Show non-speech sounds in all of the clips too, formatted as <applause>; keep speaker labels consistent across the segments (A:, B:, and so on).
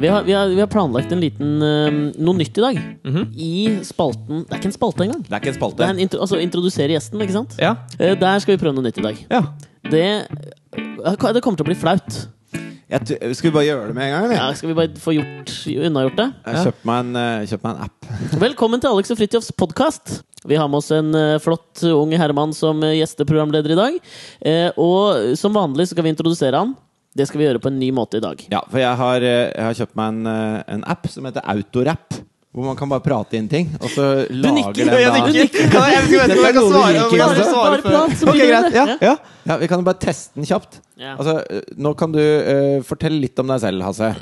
A: Vi har, vi, har, vi har planlagt en liten eh, noe nytt i dag.
B: Mhm.
A: I spalten Det er ikke en spalte engang.
B: Det er ikke
A: Det
B: en
A: er
B: spalte.
A: en intro, altså introdusere gjesten, ikke sant?
B: Ja.
A: Eh, Der skal vi prøve noe nytt i dag.
B: ja.
A: Det, eh, det kommer til å bli flaut.
C: Jeg, t- skal vi bare gjøre det med en gang?
A: Ja,
C: Eller?
A: skal vi bare få gjort, unnagjort det?
C: Jeg kjøpte meg, en, eh, kjøpt meg en app.
A: Velkommen til Alex og Fridtjofs podkast. Vi har med oss en eh, flott ung herremann som eh, gjesteprogramleder i dag. Eh, og som vanlig så skal vi introdusere han. Det skal vi gjøre på en ny måte i dag.
C: Ja, for jeg har, eh, jeg har kjøpt meg en, eh, en app som heter Autorap. Hvor man kan bare prate inn ting, og så lager den
B: Jeg nikker. Jeg vet ikke om jeg kan svare. om jeg
C: Bare-
B: kan svare
A: bare prat, så
B: før. Ok,
A: blir det
B: greit.
A: det.
B: Ja, ja.
C: Ja, Vi kan jo bare teste den kjapt.
A: Ja.
C: Altså, eh, nå kan du eh, fortelle litt om deg selv, Hasse.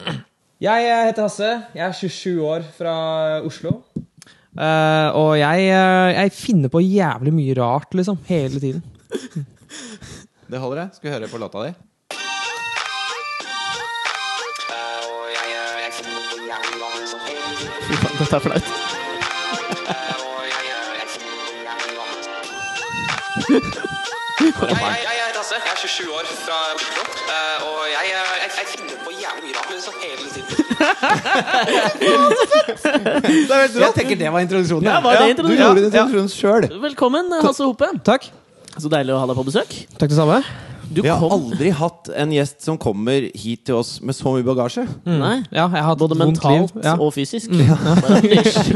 D: Jeg eh, heter Hasse. Jeg er 27 år fra Oslo.
B: Eh, og jeg, eh, jeg finner på jævlig mye rart, liksom. Hele tiden.
C: Det holder, det. Skal vi høre på låta di?
A: Fy faen, dette er flaut.
E: Jeg, jeg, jeg heter Hasse, jeg er 27 år fra Oslo. eh, Og jeg, eh, jeg, jeg finner på jævlig mye rart liksom, hele tiden.
C: Jeg tenker det var introduksjonen.
A: Ja, var det
C: du
A: introduksjonen?
C: gjorde introduksjonen sjøl.
A: Velkommen, eh, Hasse Hope.
B: Takk.
A: Så deilig å ha deg på besøk.
B: Takk, det samme.
A: Du
C: Vi har
A: kom
C: aldri hatt en gjest som kommer hit til oss med så mye bagasje.
A: Nei.
B: Ja, jeg har hatt
A: Både
B: et Mm. vondt
A: mentalt
B: liv. Ja. Mm.
A: og fysisk.
B: <laughs>
A: Bare niche.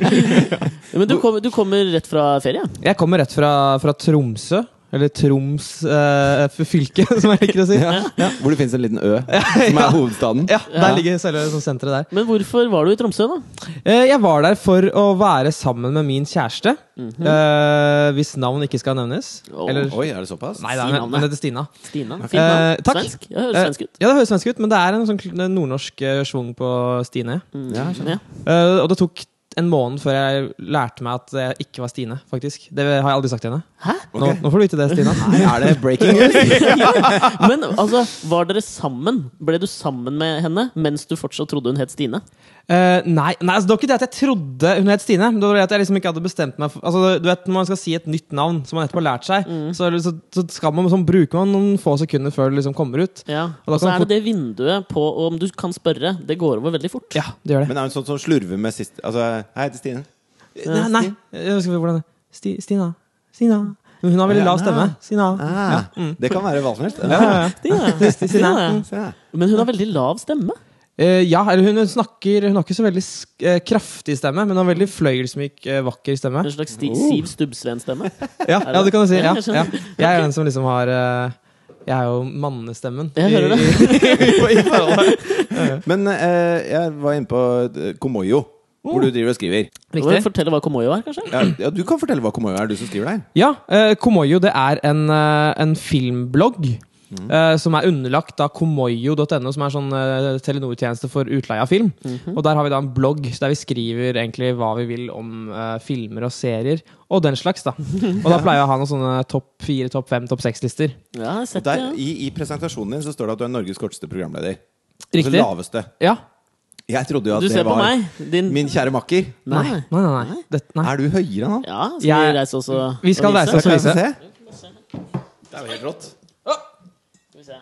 A: Men du kommer, du kommer rett fra ferie?
B: Jeg kommer rett fra, fra Tromsø. Eller Troms eh, f- fylke, <laughs> som jeg liker å si. Ja,
C: Hvor det fins en liten ø som er hovedstaden.
B: Der ligger selve sånn senteret der.
A: Men hvorfor var du i Tromsø, da?
B: Eh, jeg var der for å være sammen med min kjæreste. eh, hvis navn ikke skal nevnes.
A: Mhm. Åh.
B: Eller
C: Oi, er det såpass?
B: Nei,
A: Si
B: da, men-
A: navnet.
B: men det heter Stina.
A: Stina? Fin navn.
B: Eh, takk.
A: Svensk? Jeg hører svensk ut.
B: Eh, ja, det høres svensk ut, men det er en sånn kl- nordnorsk eh, schwung på Stine.
C: Ja, jeg
A: Mm, Ja.
B: Eh, og det tok en måned før jeg lærte meg at jeg ikke var Stine, faktisk. Det har jeg aldri sagt til henne.
A: Hæ?
B: Nå, nå får du vite det, Stina.
C: Er det <laughs> breaking news?
A: Men altså, var dere sammen? Ble du sammen med henne mens du fortsatt trodde hun het Stine?
B: Eh, nei, nei altså, det var ikke det at jeg trodde hun het Stine. Men det var det at jeg liksom ikke hadde bestemt meg for, altså, du vet, Når man skal si et nytt navn som man nettopp har lært seg,
A: Mm.
B: så, så, så skal man, sånn, bruker man noen få sekunder før det liksom kommer ut.
A: Ja.
B: Og da
A: Og så
B: kan
A: er
B: man
A: det det vinduet på om du kan spørre. Det går over veldig
B: <laughs>
A: fort.
B: Ja, det gjør det.
C: Men er hun sånn som slurver med sist Altså, hei, jeg heter Stine.
B: nei, nei, jeg husker hvordan det Sti, Stina. Stina. Hun har veldig lav stemme. Stina.
C: Ah, Det kan være hva som helst.
B: Ja, ja, ja.
A: Stine. Stine.
B: Mm.
C: Se her.
A: Men hun har veldig lav stemme.
B: Eh, ja, eller hun snakker Hun har ikke så veldig sk- eh, kraftig stemme, men hun har veldig fløyelsmyk, eh, vakker stemme.
A: En slags Sti Siv Stubbsveen-stemme.
B: Ja, ja, det kan du si.
A: Ja,
B: Ja,
A: jeg
B: ja.
A: skjønner.
B: Jeg er den som liksom har eh, Jeg er jo mannestemmen.
A: Jeg hører
B: <laughs> I, i, i forholdet.
C: Men eh, jeg var inne på eh, Komoyo, hvor
A: Oh.
C: du driver og skriver.
A: Kan du fortelle hva Komoyo er, kanskje? <clears throat>
C: Ja, ja, du kan fortelle hva Komoyo er, du som skriver der.
B: Ja, eh, Komoyo det er en, eh, en filmblogg. eh, som er underlagt da komoyo.no, som er sånn eh, Telenor-tjeneste for utleie av film. Og Der har vi da en blogg der vi skriver egentlig hva vi vil om eh, filmer og serier. Og den slags, <laughs> da. Og da pleier jeg å ha noen sånne topp fire, topp fem, topp seks-lister.
A: Ja, jeg har sett det.
C: der
A: Ja.
C: i, I presentasjonen din så står det at du er Norges korteste programleder. Altså
B: Riktig?
C: laveste.
B: Ja.
C: Jeg trodde jo
A: Du
C: at det
A: ser på
C: var
A: meg. Din
C: min kjære makker.
B: Nei, nei, nei. nei. Det, nei.
C: Er du høyere enn han?
A: Ja, skal vi
B: Jeg-
A: reise oss og
B: Vi skal
A: og vise?
B: reise oss.
C: Skal jeg
B: Lise.
C: få se? Det er jo helt rått.
A: Skal vi se.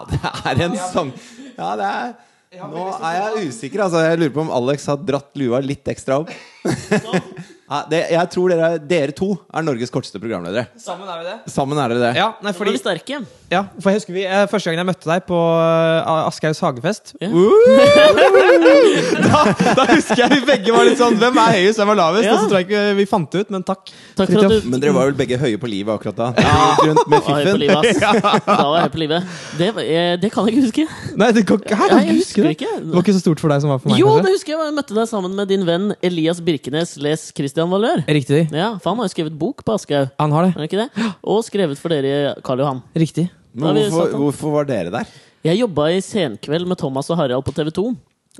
C: Ja, det er en sang Ja, det er Nå er jeg usikker, altså. Jeg lurer på om Alex har dratt lua litt ekstra opp. Ja, det, jeg tror dere, dere to er Norges korteste programledere.
B: Sammen er vi det?
C: Sammen er dere det.
B: Ja, nei,
A: Nå er
B: fordi
A: vi sterke.
B: Ja, for jeg husker vi, eh, Første gangen jeg møtte deg på eh, Aschehougs hagefest
A: Ja.
B: <laughs> da, da husker jeg vi begge var litt sånn Hvem er høyest, hvem er lavest?
A: Ja.
B: Og så tror jeg ikke vi fant det ut, men takk.
A: Takk for at du
C: Men dere var vel begge høye på livet akkurat da? Dere gikk Rundt med
A: var høy på
C: fiffen.
A: livet,
C: <laughs>
A: ass. Da var jeg høy på livet. Det, var- eh, det kan jeg ikke huske.
B: Nei, det kan, ikke- hæ,
A: Nei,
B: kan
A: jeg
B: ikke huske
A: husker
B: det.
A: ikke.
B: det var ikke så stort for deg som var for meg.
A: Jo,
B: kanskje?
A: det husker jeg. Jeg møtte deg sammen med din venn Elias Birkenes, les Christian Valør.
B: Riktig.
A: Ja, for han har jo skrevet bok på Aschehoug,
B: Han har
A: er
B: det.
A: det ikke det? Og skrevet for dere, Karl Johan.
B: Riktig.
A: Da har
C: Men
A: vi
C: hvorfor,
A: satt han.
C: hvorfor var dere der?
A: Jeg jobba i Senkveld med Thomas og Harald på TV 2.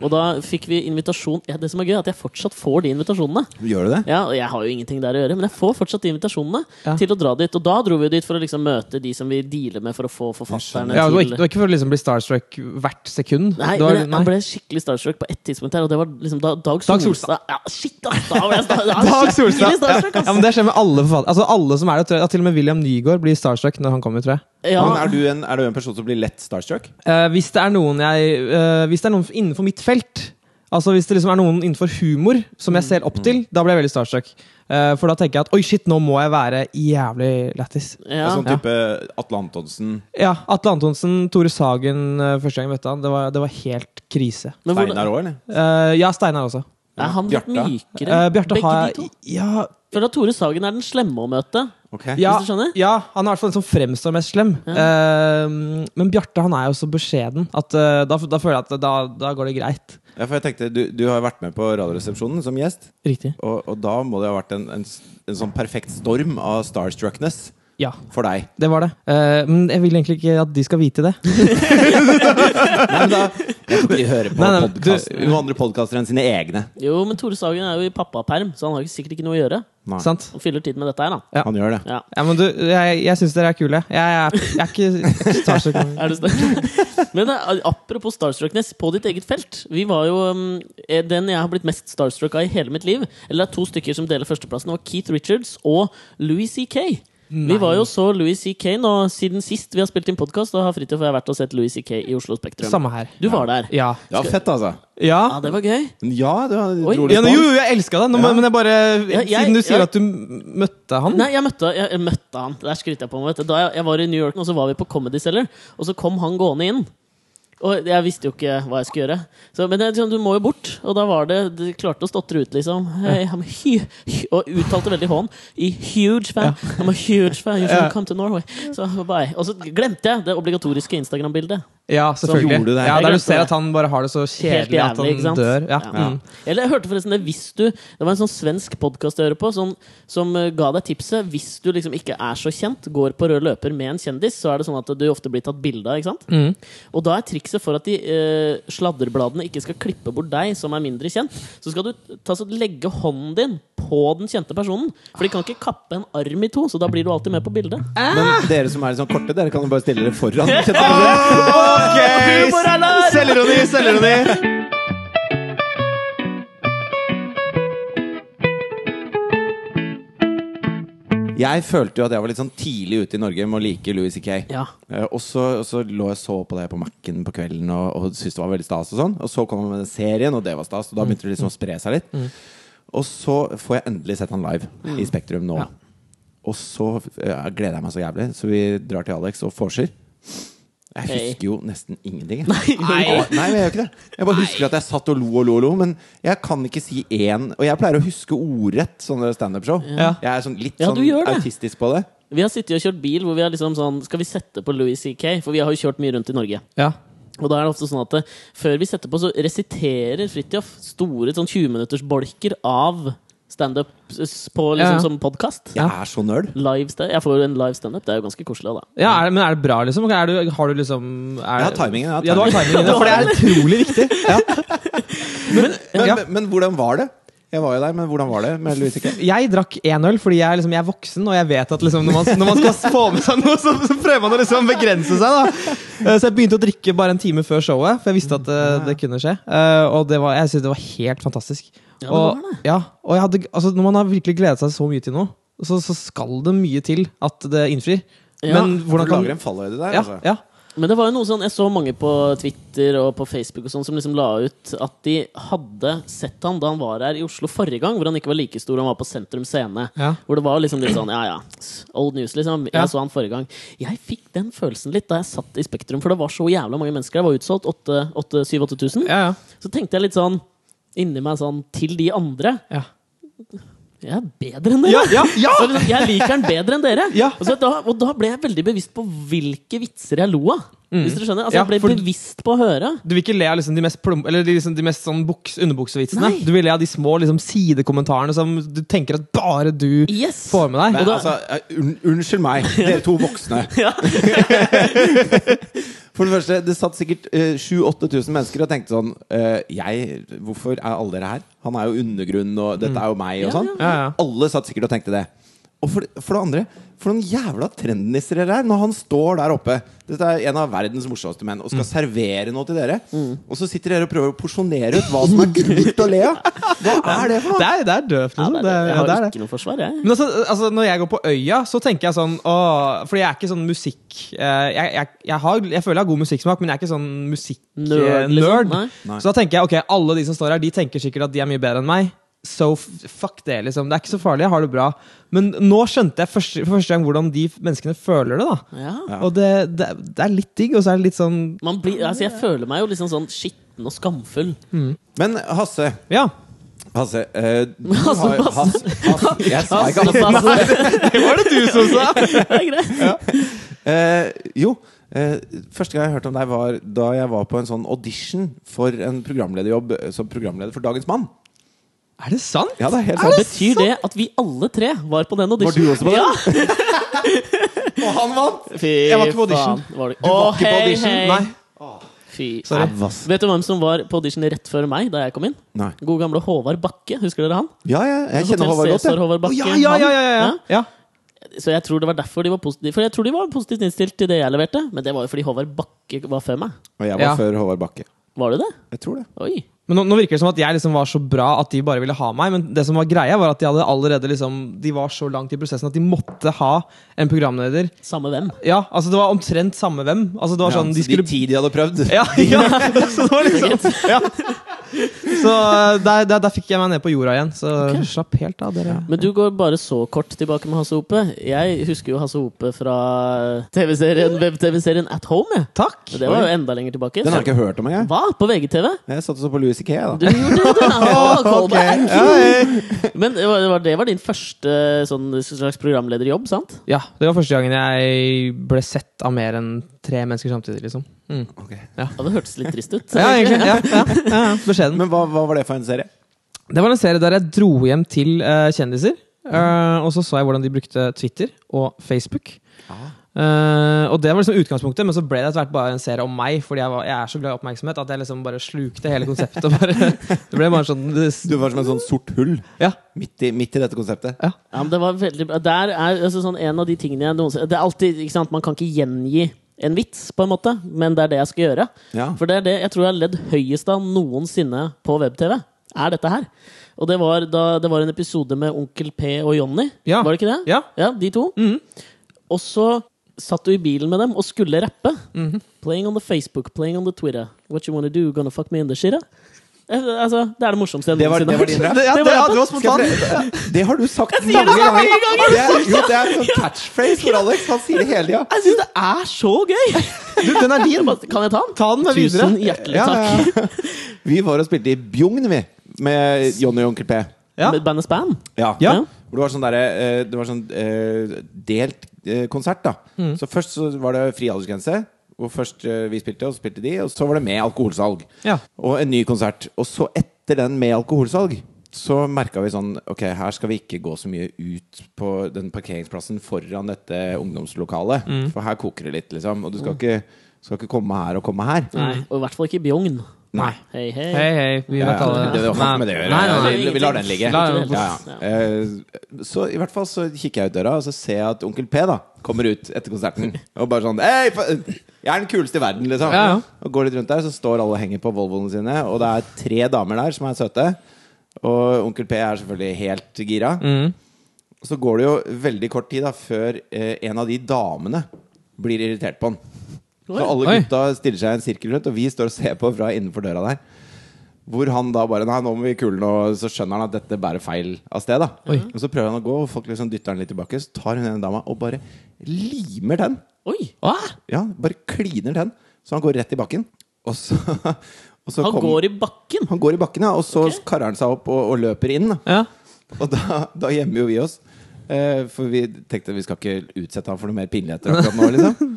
A: Og da fikk vi invitasjon ja, Det som er gøy, er at jeg fortsatt får de invitasjonene.
C: Gjør du det?
A: Ja, og Jeg har jo ingenting der å gjøre, men jeg får fortsatt de invitasjonene
B: Ja.
A: til å dra dit. Og da dro vi jo dit for å liksom møte de som vi dealer med for å få forfatterne
B: Ja, det, var ikke, det
A: til
B: var ikke for å liksom bli starstruck hvert sekund.
A: Nei,
B: det var,
A: men jeg, jeg ble skikkelig starstruck på ett tidspunkt her, og det var liksom da Dag
B: Dag
A: Solstad.
B: Solstad.
A: Ja, shit, ass! Da ble jeg sta- da var
B: <laughs> Dag
A: jeg skikkelig
B: Solstad! Ja,
A: starstruck, ass.
B: Altså, ja, men det skjer med alle forfattere. Altså, alle som er det, tror jeg, ja, til og med William Nygaard blir starstruck når han kommer, tror jeg.
A: Ja.
C: Men er du, en, er du en person som blir lett starstruck?
B: Eh, hvis det er noen jeg eh, Hvis det er noen innenfor mitt felt Altså Hvis det liksom er noen innenfor humor som jeg ser opp
A: Mm.
B: til, da blir jeg veldig starstruck. Eh, for da tenker jeg at oi, shit, nå må jeg være jævlig lættis.
A: Ja.
C: Sånn type Atle Antonsen,
B: Ja, Atle Antonsen, Tore Sagen eh, første gang jeg møtte han. Det var, det var helt krise.
A: Men hvordan-
C: Steinar òg, eller?
B: Eh, ja, Steinar også.
A: er han litt
C: Bjarte.
A: mykere?
B: Eh, Bjarte
A: Begge
B: har
A: de to?
B: Ja,
A: For da Tore Sagen er den slemme å møte.
C: Ok.
B: ja,
A: Hvis du skjønner?
B: ja, han er i hvert fall den som fremstår mest slem. Eh, men Bjarte han er jo så beskjeden at eh, da, da føler jeg at da, da går det greit.
C: Ja, for jeg tenkte, du, du har jo vært med på Radioresepsjonen som gjest,
B: Riktig.
C: og, og da må det ha vært en, en, s- en sånn perfekt storm av starstruckness
B: Ja,
C: for deg.
B: det var det. Eh, men jeg vil egentlig ikke at de skal vite det.
C: Nei, men da, jeg tror ikke de hører på
B: Nei, nei,
C: podkast- noen andre podkaster enn sine egne.
A: Jo, men Tore Sagen er jo i pappaperm, så han har ikke- sikkert ikke noe å gjøre.
C: Nei,
B: Sant?
A: Han fyller tid med dette her, da.
B: Sånn, Ja.
C: Han gjør det.
A: Ja.
B: Ja, men du, jeg, jeg syns dere er kule. Jeg, er- jeg er ikke starstruck.
A: Er du snill? <laughs> Men eh, apropos starstruckness, på ditt eget felt Vi var jo um, eh, Den jeg har blitt mest starstruck av i hele mitt liv, eller det er to stykker som deler førsteplassen, det var Keith Richards og Louis C.K. Vi var jo så Louis C.K. nå siden sist vi har spilt inn podkast. Da har Fridtjof og jeg vært og sett Louis C.K. i Oslo Spektrum.
B: Samme her.
A: Du var der.
B: Ja.
C: Det var fett, altså.
B: Ja.
A: Ja, det var gøy.
C: Men Ja, du har- du
A: Oi.
C: dro
B: Ja, nå-
C: litt på.
B: jo, jo, jeg elska det, nå,
C: Ja.
B: men jeg bare
A: Ja, jeg-
B: Siden du sier
A: jeg-
B: at du m- møtte han
A: Nei, jeg møtte, jeg, jeg møtte han. Der skryter jeg på meg. Vet du. Da jeg, jeg var i New York, og så var vi på Comedy Cellar, og så kom han gående inn. Og jeg visste jo ikke hva jeg skulle gjøre. Så, men jeg, tenkte, du må jo bort. Og da var det Du klarte å stotre ut, liksom. Hey, I'm a hu- hu- og uttalte veldig hån. I huge fan. I'm a huge fan. You should come to Norway. Så, bye. Og så glemte jeg det obligatoriske Instagram-bildet.
B: Ja, selvfølgelig.
C: gjorde det.
B: Ja,
A: Jeg
B: der du
A: glemte
B: ser
A: det.
B: at han bare har det så
A: Helt
B: kjedelig
A: jævlig,
B: at han
A: ikke sant?
B: dør. Ja.
A: Ja.
B: Mm.
A: Eller jeg hørte forresten det hvis du Det var en sånn svensk podkast jeg hører på, som, som eh, ga deg tipset hvis du liksom ikke er så kjent, går på rød løper med en kjendis, så er det sånn at du ofte blir tatt bilde av, ikke sant? Og da er trikset for at de eh, sladderbladene ikke skal klippe bort deg, som er mindre kjent, så skal du ta, så legge hånden din på den kjente personen. For de kan ikke kappe en arm i to, så da blir du alltid med på bildet.
C: Men dere som er litt sånn korte, dere kan jo bare stille dere
B: <laughs>
C: foran. Kjente dere det?
A: <laughs> Humor er der!
C: Selvironi, selvironi! Jeg følte jo at jeg var litt sånn tidlig ute i Norge med å like Louis C.K.
A: Ja.
C: Eh, Og så, og så lå jeg og så på det på Mac-en på kvelden og, og syntes det var veldig stas. Og sånn Og så kom han med den serien, og det var stas. Og
A: Mm.
C: da begynte det liksom å spre seg litt. Og så får jeg endelig sett han live
A: Mm.
C: i Spektrum nå.
B: Ja.
C: Og så eh, gleder jeg meg så jævlig, så vi drar til Alex og vorser. Jeg
A: Hei.
C: husker jo nesten ingenting. jeg.
A: Nei.
C: Nei, men jeg gjør ikke det. Jeg bare husker at jeg satt og lo og lo og lo, men jeg kan ikke si én Og jeg pleier å huske ordrett sånne standup-show.
B: Ja.
C: Jeg er sånn litt
A: Ja,
C: sånn
A: du gjør det.
C: autistisk på det.
A: Vi har sittet og kjørt bil hvor vi har liksom sånn Skal vi sette på Louis CK? For vi har jo kjørt mye rundt i Norge.
B: Ja.
A: Og da er det ofte sånn at eh, før vi setter på, så resiterer Fridtjof store sånn 20-minuttersbolker av standup s- på
B: Ja, ja.
A: liksom som podkast.
C: Jeg er så nerd.
A: Live sta- jeg får jo en live standup. Det er jo ganske koselig, da.
B: ja er, det- men er det bra, liksom? Er du, har du liksom er,
C: Jeg har timingen, jeg har
B: Ja, du har timingen ja, for det er utrolig viktig.
C: Men,
B: Ja.
C: men, men hvordan var det? Jeg var jo der, men hvordan var det med Louis C.K.?
B: Jeg drakk én øl fordi jeg, liksom, jeg er voksen, og jeg vet at liksom, når, man, når man skal få med seg noe, så, så prøver man å liksom begrense seg. Da. Eh, Så jeg begynte å drikke bare en time før showet, for jeg visste at eh, det kunne skje. Eh, Og det var, jeg syntes det var helt fantastisk.
A: det var
B: Og, ja, og jeg hadde, altså, når man har virkelig gledet seg så mye til noe, så, så skal det mye til at det innfrir.
A: Ja,
B: Men
C: Du
B: hvordan
C: lager
B: kan
C: en fallhøyde der,
B: ja,
C: altså.
B: ja.
A: Men det var jo noe sånn, jeg så mange på Twitter og på Facebook og sånn som liksom la ut at de hadde sett han da han var her i Oslo forrige gang, hvor han ikke var like stor, han var på Sentrum Scene.
B: Ja.
A: Hvor det var liksom litt sånn, ja ja, old news, liksom. Jeg
B: Ja.
A: så han forrige gang. Jeg fikk den følelsen litt da jeg satt i Spektrum, for det var så jævla mange mennesker. Det var utsolgt 7000-8000.
B: Ja, ja.
A: Så tenkte jeg litt sånn inni meg sånn, til de andre
B: Ja.
A: Jeg er bedre enn dere!
B: Ja, ja, ja!
A: <laughs> Så liksom, jeg liker den bedre enn dere.
B: <laughs> Ja.
A: Og, så da, og da ble jeg veldig bevisst på hvilke vitser jeg lo av. Hvis dere skjønner? Altså,
B: Mm. Ja,
A: jeg ble
B: for-
A: bevisst på å høre.
B: Du vil ikke le av liksom de mest, plom, eller de, liksom de mest sånn buks, underbuksevitsene.
A: Nei.
B: Du vil le av de små liksom, sidekommentarene som du tenker at bare du
A: Yes! <laughs>
B: får med deg.
C: Men,
A: Og da-
C: altså, eh, unn- unnskyld meg, dere to voksne. For det første, det satt sikkert eh, 7000-8000 mennesker og tenkte sånn eh, Jeg, hvorfor er alle dere her? Han er jo undergrunn, og dette er jo
A: Mm.
C: meg, og
A: Ja,
C: sånn.
A: ja,
B: ja. Ja, ja.
C: Alle satt sikkert og tenkte det. Og for, for det andre, for noen jævla trendnisser dere er når han står der oppe. Dette er en av verdens morsomste menn og skal servere noe til dere. Og så sitter dere og prøver å porsjonere ut hva som er kult å le av! Hva er det for noe?
B: Det er, det er døvt,
A: Ja,
B: liksom.
A: det er,
B: det, er-
A: jeg
B: ja,
A: har
B: det er det.
A: ikke noe forsvar, jeg.
B: Men altså, altså, når jeg går på øya, så tenker jeg sånn åh, Fordi jeg er ikke sånn musikk eh, jeg, jeg, jeg, har, jeg føler jeg har god musikksmak, men jeg er ikke sånn
A: Nerd,
B: musikk-nerd.
A: liksom. Nei.
C: Nei.
B: Så da tenker jeg ok, alle de som står her, de tenker sikkert at de er mye bedre enn meg. So f- fuck det, liksom. Det er ikke så farlig, jeg har det bra. Men nå skjønte jeg første, for første gang hvordan de menneskene føler det, da.
A: Ja.
C: Ja.
B: Og det, det, det er litt digg, og så er det litt sånn
A: Man blir, altså, jeg føler meg jo liksom sånn skitten og
B: <laughs>
A: skamfull.
C: Men Hasse,
B: Ja.
C: Hasse, eh, du
A: Hasse,
C: har jo-
A: Hasse.
C: Hasse, jeg sa ikke
A: <laughs>
C: Hasse.
A: Nei,
B: Det var det du som sa!
A: det er greit.
C: Eh, jo, eh, første gang jeg hørte om deg var da jeg var på en sånn audition for en programlederjobb eh, som programleder for Dagens Mann.
B: <laughs> Er det sant?
C: Ja, det er helt
A: Så
C: sant.
A: betyr det at vi alle tre var på den auditionen?
C: Var du også på den?
A: Ja!
C: Og han vant!
A: Fy
B: Jeg var ikke på audition.
A: faen, Var du
B: Du var
A: Å,
B: ikke på
A: hei,
B: audition.
A: hei.
B: Nei.
A: Fy.
B: Sorry.
A: Nei. Vet du hvem som var på audition rett før meg, da jeg kom inn?
C: Nei.
A: God gamle Håvard Bakke. Husker dere han? Altså,
C: Ja, ja,
A: Hotel
C: jeg kjenner Håvard godt.
A: Cæsar,
C: Jeg.
A: Håvard Bakke,
B: Ja, ja, ja, ja, ja.
A: han.
B: ja.
A: Ja, Så jeg tror det var derfor de var positive. For jeg tror de var positivt innstilt til det jeg leverte. Men det var jo fordi Håvard Bakke var før meg.
C: Og jeg var
B: Ja.
C: før Håvard Bakke.
A: Var det det?
C: Jeg tror det.
A: Oi.
B: Men nå, nå virker det som at jeg liksom var så bra at de bare ville ha meg. Men det som var greia var at de hadde allerede liksom De var så langt i prosessen at de måtte ha en programleder.
A: Samme hvem.
B: Ja, altså Det var omtrent samme hvem. Altså det var sånn, de
C: så de
B: skulle
C: ti de hadde prøvd.
B: <laughs> ja, <laughs> ja, så det var liksom ja. Så eh, der, der, der fikk jeg meg ned på jorda igjen. Så
A: Ok.
B: slapp helt av, dere.
A: Men du går bare så kort tilbake med Hasse Hope. Jeg husker jo Hasse Hope fra TV-serien web-TV-serien At Home. jeg.
B: Takk!
A: Det var jo enda lenger tilbake.
C: Den har jeg ikke hørt om engang.
A: Hva? På VGTV?
C: Jeg satt og så på Louis C.K. jeg,
A: Du
C: da.
A: gjorde
B: <laughs>
A: det! Å, callback!
C: Ja, jeg-
A: Men det var, det var din første sånn, slags programlederjobb, sant?
B: Ja, Det var første gangen jeg ble sett av mer enn tre mennesker samtidig. liksom mm.
A: Ja, det hørtes litt trist ut.
B: Ja, egentlig. Ja, ja, ja, ja. Beskjeden.
C: Men hva, hva var det for en serie?
B: Det var en serie der jeg dro hjem til eh, kjendiser. eh, og så så jeg hvordan de brukte Twitter og Facebook.
C: Ah.
B: Eh, og det var liksom utgangspunktet, men så ble det etter hvert bare en serie om meg. Fordi jeg, var, jeg er så glad i oppmerksomhet at jeg liksom bare slukte hele konseptet. og Bare, <laughs> det ble bare sånn
C: Du var som et sånt sort hull
B: Ja.
C: midt i, midt i dette konseptet.
A: Ja, men det var veldig bra. Der er altså, sånn, en av de tingene jeg noensinne Det er alltid, ikke sant, Man kan ikke gjengi en vits, på en måte, men det er det jeg skal gjøre.
C: Ja.
A: For det er det jeg tror jeg har ledd høyest av noensinne på web-TV. Er dette her. Og det var, da, det var en episode med Onkel P og Jonny.
B: Ja.
A: Var det ikke det?
B: Ja.
A: De to.
B: Mhm.
A: Og så satt du i bilen med dem og skulle rappe.
B: Mhm.
A: Playing on the Facebook, playing on the Twitter. What you wanna do, gonna fuck me in the shit? Altså, det er det morsomste jeg
C: Det var-
A: noensinne
C: det var din rap?
B: Det, ja,
A: Det
B: det,
A: var
B: ja,
A: rappen.
B: du var spontan.
C: Det har du sagt mange ganger! Det er, jo, det er en sånn catchphrase for Alex. Han sier det hele tida.
A: Jeg syns det er så gøy!
B: Du, den er din!
A: Kan jeg ta den?
B: Ta den med videre.
A: Tusen hjertelig
C: Ja,
A: takk.
C: ja, ja. Vi var og spilte i Bjugn, vi. Med Jonny og Onkel P.
B: Ja.
A: Med bandet Span?
C: Ja.
B: Ja.
C: Hvor det var sånn, derre, eh, det var sånn eh, delt eh, konsert, da. Så først så var det fri aldersgrense. Hvor først eh, vi spilte, og så spilte de. Og så var det med alkoholsalg.
B: Ja.
C: Og en ny konsert. Og så etter den med alkoholsalg så merka vi sånn Ok, her skal vi ikke gå så mye ut på den parkeringsplassen foran dette ungdomslokalet. For her koker det litt, liksom. Og du skal, ikke, skal ikke komme her og komme her.
A: Nei, og i hvert fall ikke Bjugn.
C: Nei.
A: Hei, hei.
B: Hei, hei. Vi
C: Ja,
B: vet alle
C: det, det har ikke med det å gjøre.
B: Nei, nei, nei.
C: Vi, vi lar den ligge.
B: La den
A: ligge.
C: ja, ja. Eh, Så i hvert fall så kikker jeg ut døra, og så ser jeg at onkel P da kommer ut etter konserten. Og bare sånn Hei, fa- jeg er den kuleste i verden, liksom.
B: Ja, ja.
C: Og går litt rundt der, så står alle og henger på Volvoene sine, og det er tre damer der som er søte. Og onkel P er selvfølgelig helt gira.
B: Mm.
C: Og Så går det jo veldig kort tid da før eh, en av de damene blir irritert på han. Så alle
B: Oi.
C: gutta stiller seg i en sirkel rundt, og vi står og ser på fra innenfor døra der. Hvor han da bare Nei, nå må vi kule den, og så skjønner han at dette bærer feil av sted. da Og så prøver han å gå, og folk liksom dytter han litt tilbake. Så tar hun ene dama og bare limer den.
A: Oi!
B: Hva?
C: Ja, bare kliner den. Så han går rett i bakken. Og så, <laughs> og så
A: Han
C: kom-
A: går i bakken!
C: han går i bakken, ja. Og så
A: Ok.
C: karrer han seg opp og, og løper inn. da
B: Ja.
C: og da, da gjemmer jo vi oss. Eh, for vi tenkte vi skal ikke utsette ham for noe mer pinligheter akkurat nå.
A: <laughs>
C: liksom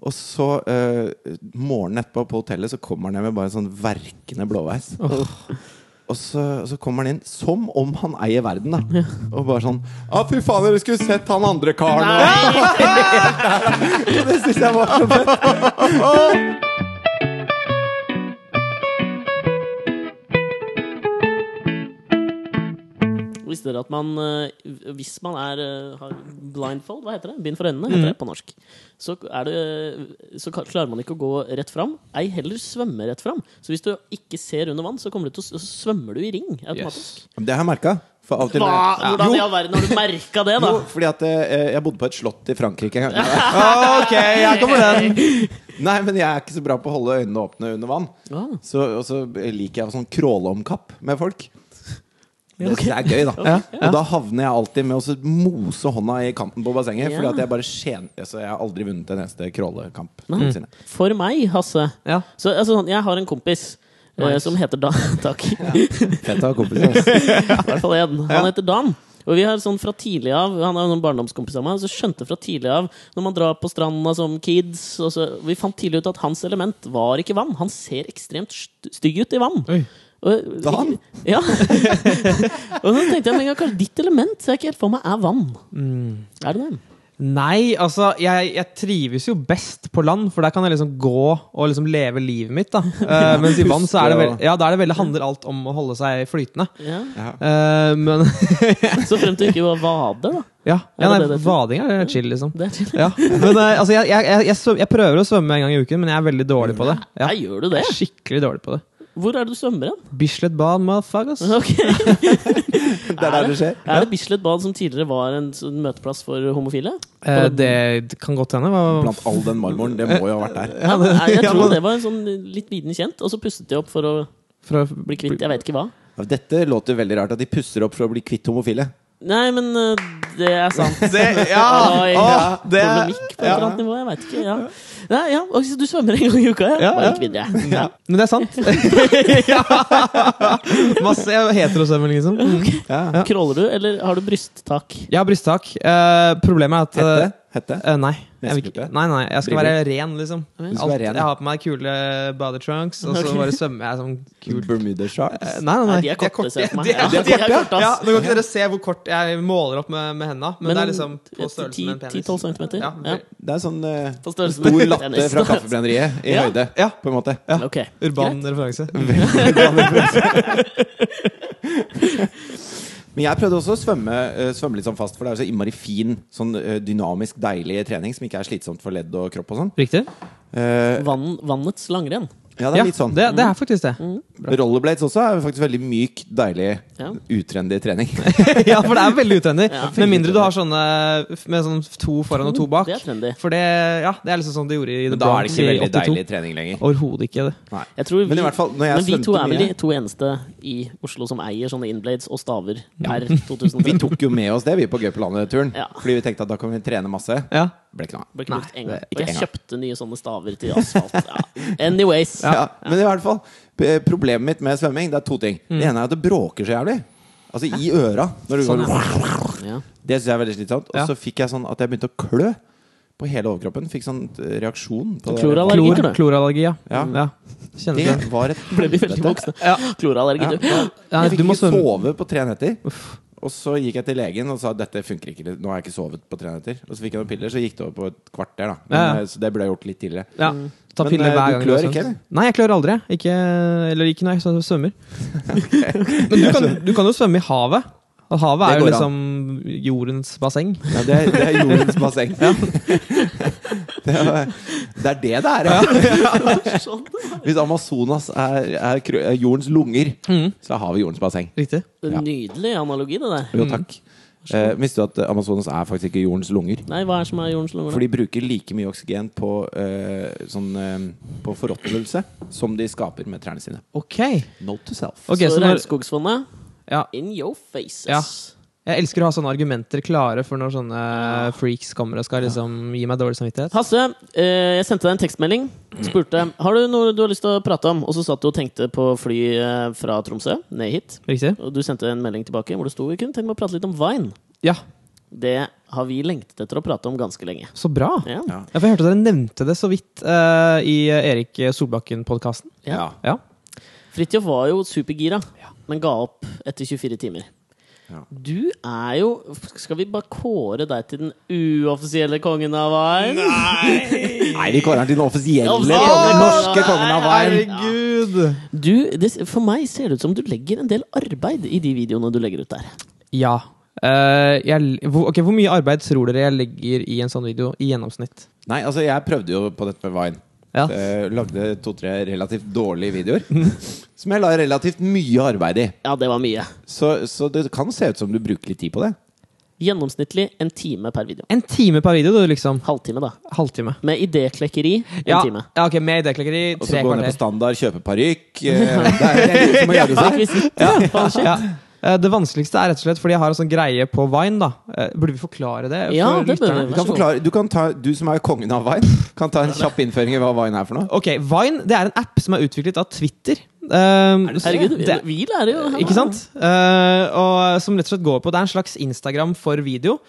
C: Og så eh, morgenen etterpå på hotellet Så kommer han hjem med bare en sånn verkende blåveis. Og så, og så kommer han inn som om han eier verden, da. Og bare sånn Å, fy faen, dere skulle sett han andre karen nå! <laughs> det syns jeg var så fett.
A: Visste dere at man eh, Hvis man er, eh, har blindfold, hva heter det? Bind for øynene,
C: Mm.
A: heter det på norsk. Så, er det, så ka- klarer man ikke å gå rett fram. Ei heller svømme rett fram. Så hvis du ikke ser under vann, så, kommer du til å, s- så svømmer du i ring automatisk.
C: Det har jeg merka.
A: Hva, hvordan i
C: Jo,
A: all verden har du merka det, da?
C: jo, fordi at eh, jeg bodde på et slott i Frankrike en gang.
A: <laughs>
B: Ok, jeg kommer den!
C: Nei, men jeg er ikke så bra på å holde øynene åpne under vann.
A: Ah.
C: Så, og så liker jeg å sånn kråleomkapp med folk. Det synes jeg er gøy, da. Og da havner jeg alltid med å så mose hånda i kanten på bassenget.
A: Ja.
C: Fordi at jeg bare skjen... Så jeg har aldri vunnet en eneste krålekamp. noensinne.
A: For meg, Hasse
B: Ja.
A: så, altså, sånn, Jeg har en kompis eh, som heter <laughs> Dan. Takk.
C: Fett å ha kompiser. <laughs> ass.
A: I hvert fall en. Han heter Dan. Og vi har sånn fra tidlig av Han er jo noen barndomskompis av meg, så skjønte fra tidlig av Når man drar på stranda som kids og så, Vi fant tidlig ut at hans element var ikke vann. Han ser ekstremt st- stygg ut i vann.
B: Oi.
A: Og-
C: Dan?
A: <laughs> Ja. og så tenkte jeg med en gang kanskje ditt element ser jeg ikke helt for meg er vann. Er det det?
B: Nei, altså, jeg, jeg trives jo best på land, for der kan jeg liksom gå og liksom leve livet mitt.
A: <laughs>
B: da Eh, Mens i vann så er det
C: puste
B: vel,
C: og-
B: ja, da er det veldig, handler alt om å holde seg flytende.
A: Ja.
B: Eh, men <laughs>
A: Så frem til du ikke var vade, da.
B: ja,
A: Ja,
B: ja
A: det er
B: nei,
A: det.
B: vading er chill, liksom.
A: Det er til.
B: Ja. Men eh, altså, jeg, jeg, jeg, jeg, svøm- jeg prøver å svømme en gang i uken, men jeg er veldig dårlig på det. Ja.
A: Nei, gjør du det?
B: Jeg er Skikkelig dårlig på det.
A: Hvor er det du svømmer hen? <laughs>
B: Bislett Bad, motherfuckers.
A: Ok.
C: Det er der det skjer.
A: Er det Bislett bad som tidligere var en sånn møteplass for homofile?
B: Eh, det kan godt hende. Hva,
C: Blant all den marmoren. Det må jo ha vært der.
A: Ja, men, jeg
B: ja,
A: tror
B: men-
A: det var en sånn litt viden kjent, og så pustet de opp for å
B: for å
A: bli kvitt Jeg vet ikke hva.
C: Dette låter veldig rart, at de pusser opp for å bli kvitt homofile.
A: Nei, men øh, det er sant.
B: Det,
A: <laughs>
B: ja!
A: Oi,
B: Åh, det
A: Polemikk på et eller annet nivå, jeg veit ikke. Ja. Nei, ja. og så du svømmer en gang i uka, ja?
B: Ja,
A: Bare
B: ja.
A: ikke videre.
B: ja. Men det er sant. <laughs> Masse heterosvømming, liksom. Mm.
C: Ja.
A: Crawler du, eller har du brysttak?
B: Jeg har brysttak. Eh, problemet er at eh,
C: Hette? Hette?
B: eh, nei. Jeg vil ikke,
C: Nesegruppe?
B: nei, nei. Jeg skal være
C: Briller?
B: ren, liksom.
A: Du
C: skal være
B: Alt,
C: ren, ja.
B: jeg har på meg kule body trunks, og så
A: Ok.
B: bare svømmer jeg sånn kult.
C: <laughs> Bermuda Sharks?
B: Eh, Nei, nei, nei.
A: Nei, de er korte, ser jeg for meg. Ja,
B: de er
A: de er
B: korte, ja.
A: korte, ass.
B: ja. Nå kan ikke dere se hvor kort jeg måler opp med, med henda, men, det er liksom
A: eh,
B: på størrelse med en
A: 10
B: penis.
A: 10-12 centimeter?
B: Ja.
A: Ja.
C: Det er sånn eh,
A: På størrelse
C: stor
A: med en
C: latte
A: penis.
C: fra Kaffebrenneriet i
A: Ja.
C: høyde,
B: Ja.
C: på en måte.
A: <laughs> Ok,
B: Urban referanse.
C: Men jeg prøvde også å svømme, eh, svømme litt sånn fast, for det er jo så innmari fin, sånn eh, dynamisk, deilig trening som ikke er slitsomt for ledd og kropp og sånn.
B: Riktig.
C: Eh,
A: Vann, vannets langrenn.
C: ja, det er litt sånn.
B: Det, det er faktisk det.
C: Rollerblades også er jo faktisk veldig myk, deilig,
A: Ja.
C: utrendy trening.
B: <laughs> ja, for det er veldig utrendy.
A: Ja.
B: Med mindre du har sånne med sånn to foran og to bak.
A: Det er trendy.
B: For det, ja, det er liksom sånn de gjorde i The
C: <laughs> Men da er det
B: Bronx
C: ikke
B: i
C: veldig
B: 82.
C: deilig trening lenger.
B: Overhodet ikke det.
C: Nei.
A: Jeg tror vi,
C: Men i hvert fall, når jeg
A: men vi
C: svømte
A: to er vel
C: mye-
A: de to eneste i Oslo som eier sånne inblades og staver per
C: Vi
A: 2013.
C: tok jo med oss det, vi, på Gaupelandet-turen.
A: Ja.
C: Fordi vi tenkte at da kan vi trene masse.
B: Ja.
C: Ble ikke noe av.
A: Ble ikke brukt en gang.
C: det er
A: Og
C: ikke
A: jeg
C: en gang.
A: kjøpte nye sånne staver til asfalt. Ja. Anyways.
C: Ja, men i hvert fall, eh, problemet mitt med svømming, det er to ting. Det ene er at det bråker så jævlig. Altså i øra. Når du går,
A: Sånn, Ja.
C: det syns jeg er veldig slitsomt. Og
B: Ja.
C: så fikk jeg sånn at jeg begynte å klø på hele overkroppen. Fikk sånn eh, reaksjon. På det.
A: Klorallergi,
B: Klor,
A: tror jeg.
B: klorallergi, ja.
C: Ja.
B: Kjenner
C: Det
B: du det?
C: var et
A: Ble vi veldig
C: helvete.
A: voksne.
B: Ja.
A: Klorallergi, du.
B: Nei,
C: Jeg fikk
B: du må
C: ikke
B: svømme.
C: sove på tre netter. Og så gikk jeg til legen og sa dette funker ikke. Nå har jeg ikke sovet på tre netter. Og så fikk jeg noen piller, så gikk det over på et kvarter. Da. Men,
B: Ja, ja.
C: eh, Så det burde jeg gjort litt tidligere.
B: Ja.
A: <laughs>
B: Ta
C: Men,
B: piller
C: eh,
B: hver
C: du
B: gang
C: klør
B: har svømt.
C: ikke, eller?
B: Nei, jeg klør aldri. Ikke, eller ikke når jeg så- svømmer. <laughs> Men du kan, du kan jo svømme i havet. Og havet
C: Det
B: er jo
C: går
B: liksom jordens basseng.
C: Ja, det, det er jordens basseng. <laughs> Det, er, det er det det er. Ja.
A: Sånn.
C: <laughs> Hvis Amazonas er, er, kro- er jordens lunger,
B: Mm.
C: så har vi jordens basseng.
B: Riktig.
C: Ja.
A: Nydelig analogi, det der.
C: Jo, takk. Eh, visste du at Amazonas er faktisk ikke jordens lunger?
A: Nei, hva er som er jordens lunger?
C: For de bruker like mye oksygen på, eh, sånn, eh, på forråtnelse som de skaper med trærne sine.
B: Ok.
C: Note to self.
B: Ok,
A: så
B: så når,
A: Regnskogsfondet,
B: ja,
A: in your faces.
B: Ja. Jeg elsker å ha sånne argumenter klare for når sånne freaks kommer og skal liksom gi meg dårlig samvittighet.
A: Hasse, eh, jeg sendte deg en tekstmelding. Spurte har du noe du har lyst til å prate om. Og så satt du og tenkte på fly eh, fra Tromsø ned hit.
B: Riktig?
A: Og du sendte en melding tilbake hvor det sto vi kunne tenke meg å prate litt om Vine.
B: Ja.
A: Det har vi lengtet etter å prate om ganske lenge.
B: Så bra! Ja.
A: Ja.
C: Ja.
B: for Jeg hørte dere nevnte det så vidt eh, i Erik Solbakken-podkasten.
A: Ja.
B: Ja.
A: Fridtjof var jo supergira, men ga opp etter 24 timer.
C: Ja.
A: Du er jo Skal vi bare kåre deg til den uoffisielle kongen av veien?
C: Nei, vi kårer den til den offisielle
A: Offisielle
C: kongen,
A: kongen.
C: norske kongen av veien.
B: Herregud!
A: Du, det, for meg ser det ut som du legger en del arbeid i de videoene du legger ut der.
B: Ja. Eh, jeg, hvor, ok, hvor mye arbeid tror dere jeg legger i en sånn video i gjennomsnitt?
C: Nei, altså jeg prøvde jo på dette med Vine.
B: Ja.
C: Eh, lagde to-tre relativt dårlige videoer. <laughs> som jeg la relativt mye arbeid i.
A: Ja, det var mye.
C: Så, så det kan se ut som du bruker litt tid på det.
A: Gjennomsnittlig en time per video.
B: En time per video, du, liksom.
A: Halvtime, da.
B: Halvtime.
A: Med idéklekkeri en
B: Ja,
A: time.
B: ja, ok, med idéklekkeri.
C: Og så
B: Tre
C: gå ned på
B: kvarter.
C: standard, kjøpe parykk eh, Det er det er noe som må gjøre seg.
A: Rekvisitt. Faen, shit.
B: Ja. Eh, Det vanskeligste er rett og slett fordi jeg har en sånn greie på Vine. da Eh, Burde vi forklare det?
A: Ja,
B: for
A: det bør
B: lytterne?
A: vi.
C: Du, kan forklare, du, kan ta, du som er kongen av Vine, kan ta en kjapp innføring i hva Vine er for noe.
B: Ok, Vine det er en app som er utviklet av Twitter. Um,
A: Herregud, vi,
B: det,
A: vi lærer jo. her.
B: ikke sant? Eh, og som rett og slett går på Det er en slags Instagram for video.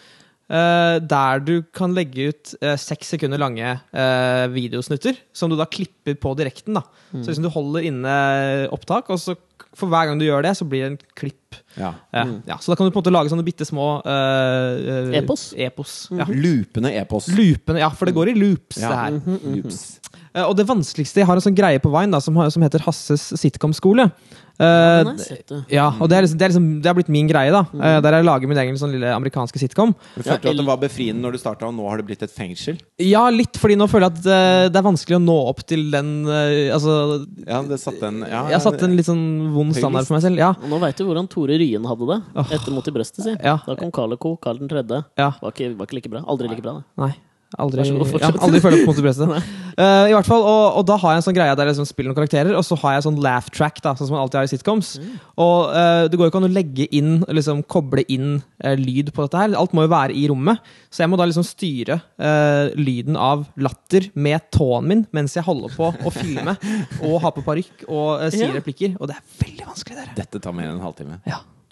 B: eh, der du kan legge ut eh, seks sekunder lange eh, videosnutter, som du da klipper på direkten. da Så liksom du holder inne eh, opptak, og så k- for hver gang du gjør det, så blir det en klipp.
C: Ja.
B: Eh, ja, så da kan du på en måte lage sånne bitte små eh, eh,
A: Epos?
B: epos, ja.
C: Loopende e-post.
B: Loopene, ja, for det går i loops,
C: Mm. Ja. Mm.
B: det her.
C: Loops.
B: Eh, Og det vanskeligste Jeg har en sånn greie på Vine da, som, har- som heter Hasses sitcom-skole.
A: Ja,
B: Eh,
A: den har jeg sett, du.
B: ja, og det, er liksom, det, er liksom, det har blitt min greie, da.
C: Mm.
B: Eh, der jeg lager min egen sånn lille amerikanske sitcom.
C: Du følte at det var befriende når du starta, og nå har det blitt et fengsel?
B: Ja, litt fordi nå føler jeg at eh, det er vanskelig å nå opp til den eh, Altså,
C: Ja, det satte en ja,
B: jeg har satt en litt sånn vond standard for meg selv. Ja,
A: Og Nå veit du hvordan Tore Ryen hadde det. Etter Mot i brøstet, si.
B: Ja.
A: Da kom Karl Co. Karl 3.
B: ja,
A: Var ikke, var ikke like bra. Aldri like bra, det.
B: nei Aldri,
A: Vær så god,
B: ja,
A: fortsett.
B: aldri føle på mot i
C: <laughs>
B: brøstet. Eh, I hvert fall, og, og da har jeg en sånn greie der jeg liksom spiller noen karakterer, og så har jeg sånn laugh track, da, sånn som man alltid har i sitcoms.
C: Mm.
B: Og eh, det går jo ikke an å legge inn, liksom koble inn eh, lyd på dette her. Alt må jo være i rommet. Så jeg må da liksom styre eh, lyden av latter med tåen min mens jeg holder på å
C: <laughs>
B: filme og har på parykk og eh, sier
A: Ja.
B: replikker. Og det er veldig vanskelig, dere.
C: Dette tar mer enn en halvtime.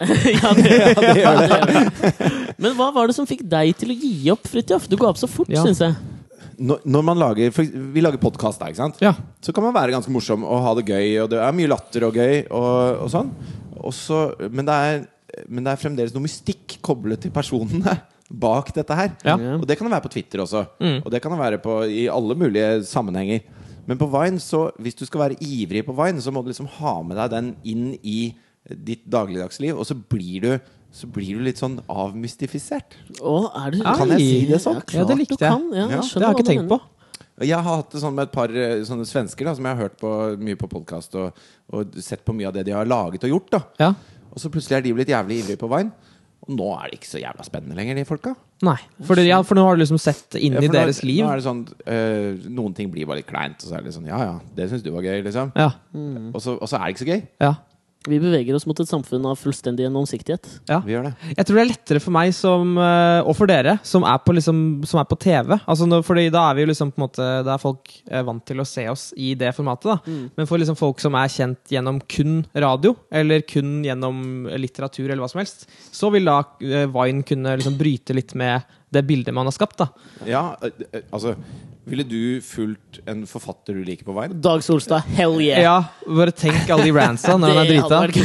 A: <laughs> ja, det, ja, det gjør det. Men hva var det som fikk deg til å gi opp, Fridtjof? Du ga opp så fort,
B: Ja.
A: synes syns jeg.
C: Når, når man lager for, Vi lager podkast, ikke sant?
B: Ja.
C: Så kan man være ganske morsom og ha det gøy, og det er mye latter og gøy, og, og sånn. Og så- men, det er, men det er fremdeles noe mystikk koblet til personene <laughs> bak dette her.
B: Ja.
C: Og det kan det være på Twitter også, og det kan det være på, i alle mulige sammenhenger. Men på Vine, så hvis du skal være ivrig på Vine, så må du liksom ha med deg den inn i ditt dagligdagsliv, og så blir du, så blir du litt sånn avmystifisert.
A: Å, er du
C: Kan jeg si det sånn?
B: Ja, det likte jeg.
A: Du kan. Ja,
C: Ja,
A: jeg
B: Det har jeg ikke tenkt på.
C: Og Jeg har hatt det sånn med et par eh, sånne svensker da, som jeg har hørt på mye på podkast og, og sett på mye av det de har laget og gjort. da
B: Ja.
C: Og så plutselig er de blitt jævlig ivrige på Vine. Og nå er det ikke så jævla spennende lenger, de folka.
B: Nei. For, det- ja, for nå har du liksom sett inn
C: Ja,
B: i
C: for nå-
B: deres liv.
C: Nå er det sånn eh, Noen ting blir bare litt kleint, og så er det litt sånn ja ja, det syns du var gøy, liksom.
B: Ja. Mm.
C: Og, så, og så er det ikke så gøy.
B: ja.
A: Vi beveger oss mot et samfunn av fullstendig gjennomsiktighet.
B: Ja.
C: Vi gjør det.
B: Jeg tror det er lettere for meg som, eh, og for dere, som er på, liksom, som er på TV. Altså, når, fordi da er vi jo liksom på en måte Da er folk eh, vant til å se oss i det formatet. Da.
A: Mm.
B: Men for liksom folk som er kjent gjennom kun radio, eller kun gjennom litteratur, eller hva som helst, så vil da eh, Vine kunne liksom bryte litt med det bildet man har skapt. Da.
C: Ja, eh, eh, altså Ville du fulgt en forfatter du liker på Vine?
A: Dag Solstad, hell yeah!
B: Ja, bare tenk alle de rantsa
A: <laughs>
B: når han er
A: det, hadde
B: drita.
A: vært <laughs>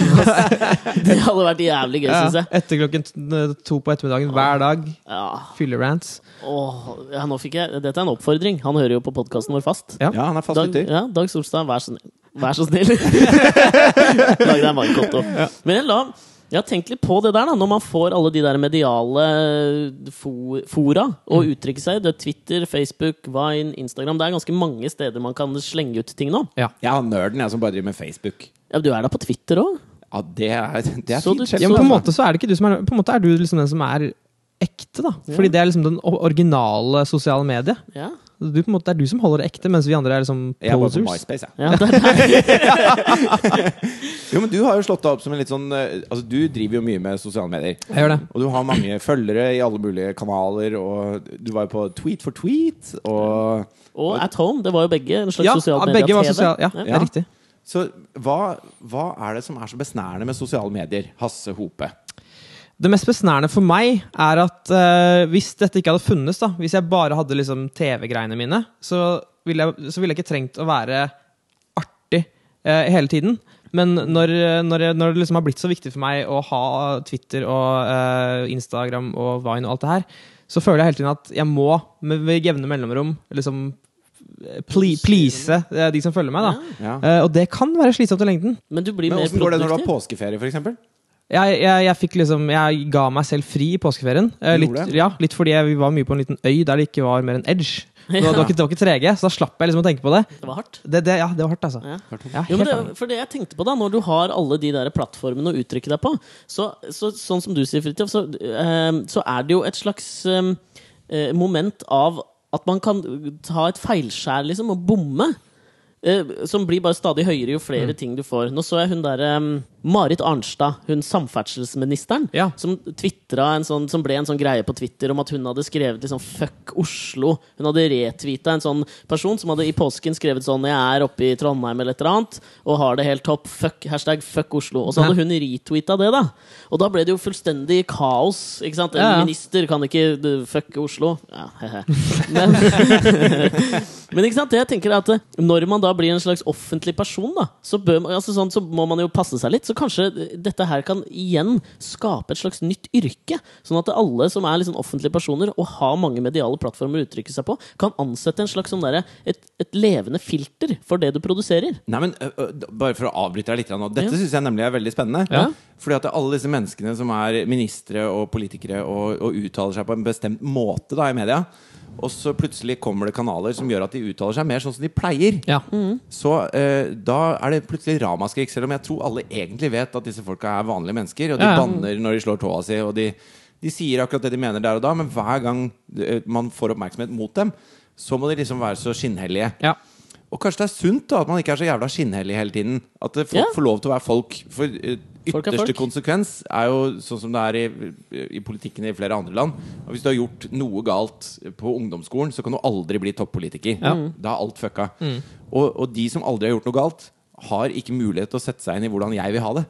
A: gøy. det hadde vært jævlig gøy,
B: Ja,
A: syns jeg. Ah.
B: etter klokken t- eh, to på ettermiddagen hver dag.
A: Ja.
B: Fylle-rants.
A: Åh, ja, nå fikk jeg Dette er en oppfordring. Han hører jo på podkasten vår fast.
B: Ja.
C: Ja, han er fast
A: Dag,
C: lytter.
A: ja, Dag Solstad, vær så snill. Vær så
C: <laughs>
A: snill. Lag deg en bankkonto. Men jeg, la, jeg har tenkt litt på det der, da. Når man får alle de der mediale eh, fo- fora å
C: Mm.
A: uttrykke seg i. Det er Twitter, Facebook, Vine, Instagram. Det er ganske mange steder man kan slenge ut ting nå.
C: Jeg har nerden, jeg, som bare driver med Facebook.
A: Ja, du er da på Twitter òg?
C: Ja, det er, det er
A: Så du-
C: fint. sjef.
B: Ja, men på en
A: Så-
B: måte så er det ikke du som er På en måte er du liksom den som er ekte, da. Fordi det er liksom den o- originale sosiale mediet.
A: Ja.
B: Du, på en måte, det er du som holder det ekte, mens vi andre er liksom
C: Jeg er bare på
B: posers.
C: MySpace, jeg.
A: ja det er der.
C: Jo, men Du har jo slått deg opp som en litt sånn eh, Altså, Du driver jo mye med sosiale medier.
B: Jeg gjør det.
C: Og du
B: <clears throat>
C: har mange følgere i alle mulige kanaler. Og du var jo på Tweet for tweet. Og
A: Og At Home. Det var jo begge en slags
B: Ja,
A: sosialt
B: begge var
A: media-TV.
B: sosial, ja, det
C: Ja.
B: er riktig.
C: Så hva, hva er det som er så besnærende med sosiale medier? Hasse Hope.
B: Det mest besnærende for meg er at eh, hvis dette ikke hadde funnes, da, hvis jeg bare hadde liksom TV-greiene mine, så ville, jeg, så ville jeg ikke trengt å være artig eh, hele tiden. Men når, eh, når, jeg, når det liksom har blitt så viktig for meg å ha Twitter og eh, Instagram og Vine og alt det her, så føler jeg hele tiden at jeg må med, med jevne mellomrom liksom eh, ple please eh, de som følger meg. da.
C: Ja.
B: Eh, og det kan være slitsomt i lengden.
A: Men du blir
C: Men
A: mer
C: åssen går det når du har
A: produktiv.
C: påskeferie, f.eks.?
B: Jeg, jeg, jeg fikk liksom Jeg ga meg selv fri i påskeferien. Eh,
C: Du
B: Litt,
C: gjorde det?
B: ja, litt fordi jeg, vi var mye på en liten øy der det ikke var mer enn edge. Det var, det var, ikke, det var ikke 3G, så da slapp jeg liksom å tenke på det.
A: Det var hardt.
B: Det, det, ja, det var hardt, altså.
A: Ja.
B: Ja,
A: Jo, men det,
B: helt enig.
A: for det jeg tenkte på da Når du har alle de der plattformene å uttrykke deg på, så, så, sånn som du sier, Fridtjof, så, eh, så er det jo et slags eh, eh, moment av at man kan ta et feilskjær liksom, og bomme. eh, som blir bare stadig høyere jo flere ting du får. Nå så jeg hun derre Marit Arnstad, hun samferdselsministeren,
B: Ja.
A: som, twittra en sånn, som ble en sånn greie på Twitter om at hun hadde skrevet liksom 'fuck Oslo'. Hun hadde retvita en sånn person som hadde i påsken skrevet sånn 'jeg er oppe i Trondheim' eller et eller annet, og har det helt topp. Fuck, hashtag 'fuck Oslo'. Og så hadde hun retweeta det, da. Og da ble det jo fullstendig kaos. Ikke sant? En
B: Ja, ja.
A: minister kan ikke eh, fucke Oslo. Ja, he-he. Men <laughs> men ikke sant, det jeg tenker er at eh, når man da blir en slags offentlig person, da, så, bør man, altså sånn, så må man jo passe seg litt. Så kanskje eh, dette her kan igjen skape et slags nytt yrke. Sånn at alle som er liksom offentlige personer og har mange mediale plattformer å uttrykke seg på, kan ansette en slags sånn derre- et, et levende filter for det du produserer.
C: Nei, men ø, ø, d- Bare for å avbryte deg litt nå. Dette synes syns jeg nemlig er veldig spennende.
B: Ja.
C: Fordi at alle disse menneskene som er ministre og politikere og, og uttaler seg på en bestemt måte da i media, og så plutselig kommer det kanaler som gjør at de uttaler seg mer sånn som de pleier.
B: Ja.
C: Så eh, da er det plutselig ramaskrik, selv om jeg tror alle egentlig vet at disse folka er vanlige mennesker, og de
B: Ja, ja.
C: banner når de slår tåa si, og de, de sier akkurat det de mener der og da, men hver gang eh, man får oppmerksomhet mot dem, så må de liksom være så skinnhellige.
B: Ja.
C: Og kanskje det er sunt da at man ikke er så jævla skinnhellig hele tiden. At det- folk
A: Ja.
C: får lov til å være folk. For eh,
A: Folk er
C: ytterste
A: folk.
C: konsekvens er jo sånn som det er i, i politikken i flere andre land. Og hvis du har gjort noe galt på ungdomsskolen, så kan du aldri bli toppolitiker.
B: Mm.
C: Da er alt fucka.
A: Mm.
C: Og, og de som aldri har gjort noe galt, har ikke mulighet til å sette seg inn i hvordan jeg vil ha det.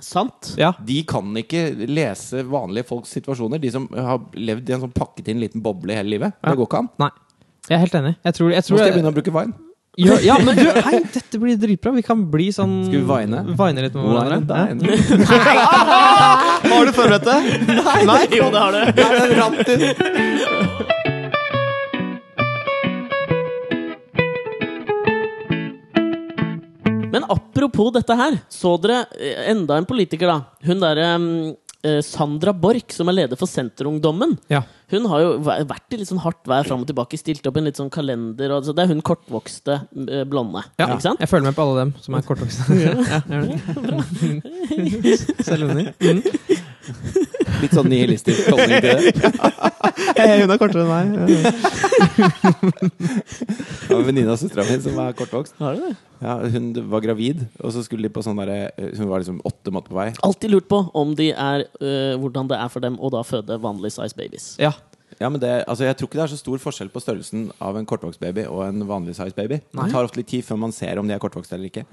A: Sant?
B: Ja.
C: De kan ikke lese vanlige folks situasjoner. De som har levd i en sånn pakket inn liten boble hele livet.
B: Ja.
C: Det går ikke an.
B: Nei. Jeg er helt enig. Jeg tror, jeg
C: Nå
B: tror
C: skal jeg begynne å bruke vine.
B: Ja, ja, men du, hei, dette blir dritbra. Vi kan bli sånn
C: Skal vi vine?
B: Vine litt med hverandre. Ja.
C: Har du forberedt deg? Nei,
A: Jo, det har du.
C: Nei, det rant ut.
A: Men apropos dette her, så dere eh, enda en politiker, da. Hun derre mm, eh, Sandra Borch, som er leder for Senterungdommen.
B: Ja.
A: Hun har jo væ- vært i litt sånn hardt vær fram og tilbake, stilt opp i en litt sånn kalender. Og, så det er hun kortvokste eh, blonde.
B: Ja.
A: Ikke sant?
B: Jeg følger med på alle dem som er
C: <laughs>
B: kortvokste. Ja, gjør det. <laughs> Selv under. Mm.
C: Litt sånn nihilistisk holdning til
A: <laughs>
C: det.
B: Hun er kortere enn meg.
C: Det var en venninne av søstera mi som var kortvokst.
A: Har du det?
C: Ja, hun var gravid, og så skulle de på sånn derre Hun var liksom åtte måneder på vei.
A: Alltid lurt på om de er, eh, hvordan det er for dem å da føde vanlig size babies.
B: Ja.
C: Ja, men det, altså Jeg tror ikke det er så stor forskjell på størrelsen av en kortvokst baby og en vanlig size baby. Det tar ofte litt tid før man ser om de er kortvokste eller ikke.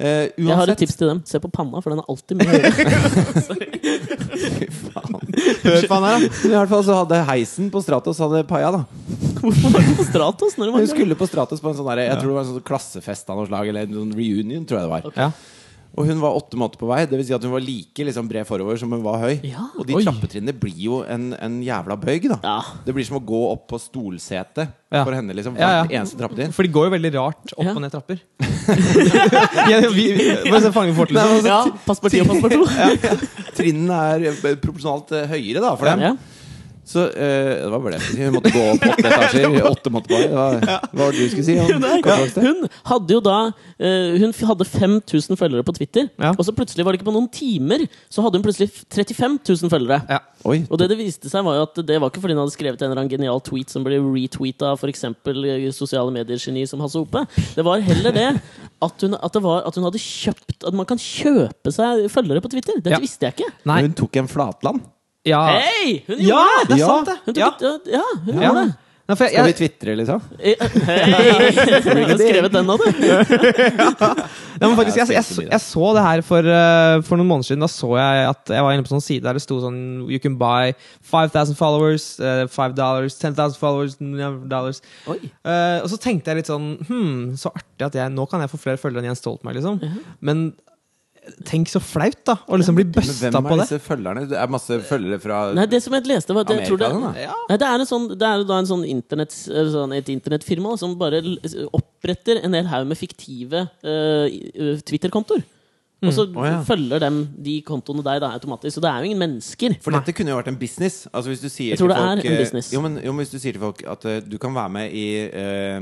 C: Eh, uansett,
A: Jeg har et tips til dem. Se på panna, for den er alltid mye høyere. <laughs>
C: Fy faen. Hør på han her, da. Men I hvert fall så hadde heisen på Stratos hadde paia, da.
A: Hvorfor var det på Stratos? Når det
C: Hun
A: var
C: skulle på Stratos på en sånn derre- jeg tror det var en sånn klassefest av noe slag, eller en sånn reunion, tror jeg det var.
B: Ja.
C: Og hun var åtte måneder på vei, dvs. Si at hun var like liksom, bred forover som hun var høy.
A: Ja.
C: Og de
B: Oi.
C: trappetrinnene blir jo en, en jævla bøyg, da.
A: Ja.
C: Det blir som å gå opp på stolsetet
B: Ja.
C: for henne, liksom. Hvert
B: Ja, ja.
C: eneste trappetrinn.
B: For de går jo veldig rart opp
A: Ja.
B: og ned trapper. <laughs> ja, vi, vi, bare se fange fort, liksom.
A: Ja, passport 10 og passport 2.
C: Trinnene er eh, proporsjonalt eh, høyere, da, for dem.
A: Ja.
C: Så eh, det var bare det. jeg skulle si. Hun måtte gå opp åtte etasjer. Åtte måneder på vei. Det var- Hva var det du skulle si? Om,
A: Nei,
C: kortvokste?
A: hun hadde jo da eh, Hun f- hadde 5000 følgere på Twitter,
B: Ja.
A: og så plutselig var det ikke på noen timer, så hadde hun plutselig f- 35 000 følgere.
B: Ja.
C: Oi.
A: Og det det viste seg var jo at det var ikke fordi hun hadde skrevet en eller annen genial tweet som ble retweeta av f.eks. sosiale medier-geni som Hasse Hope. Det var heller det at hun, at, det var, at hun hadde kjøpt At man kan kjøpe seg følgere på Twitter. Dette
B: Ja.
A: visste jeg ikke.
B: Nei.
C: Hun tok en flatland.
B: Ja.
A: Hei! Hun gjorde
B: ja,
A: det!
B: det er
C: Ja.
B: sant, det.
A: Hun
B: Ja.
A: tok, ja. ja, hun
B: Ja.
A: gjorde det.
B: Nei, for jeg,
C: Skal vi
B: jeg,
C: tvitre, liksom?
A: Eh, Hei! Har du skrevet den nå, du?
B: Ja, men faktisk, jeg,
C: Jeg
B: jeg,
C: har spilt
B: så-
C: forbi det.
B: jeg så det her for, eh, for noen måneder siden. Da så jeg at jeg var inne på sånn side der det sto sånn You can buy 5000 followers, eh, 5 dollars, 10,000 followers, 900 dollars.
A: Oi.
B: Eh, og så tenkte jeg litt sånn Hm, så artig at jeg nå kan jeg få flere følgere enn Jens Stoltenberg, liksom. Men tenk så flaut, da! Å liksom bli
C: Men
B: busta
C: hvem er
B: på det.
C: disse følgerne? Det er masse følgere fra
A: Nei, det som jeg leste var at jeg tror det,
C: Amerika, den, da?
B: Ja.
A: Nei, det er, en sånn, det er jo da en sånn internett, eller sånn et internettfirma som bare l- oppretter en hel haug med fiktive eh, i- eh, Twitter-kontoer. Og så
C: Mm. Å, ja.
A: følger dem de kontoene der da, automatisk. Så det er jo ingen mennesker.
C: For dette kunne jo vært en business. Altså hvis du sier
A: Jeg tror det
C: til
A: er
C: folk,
A: en
C: eh,
A: business.
C: Jo men, jo, men hvis du sier til folk at eh, du kan være med i eh,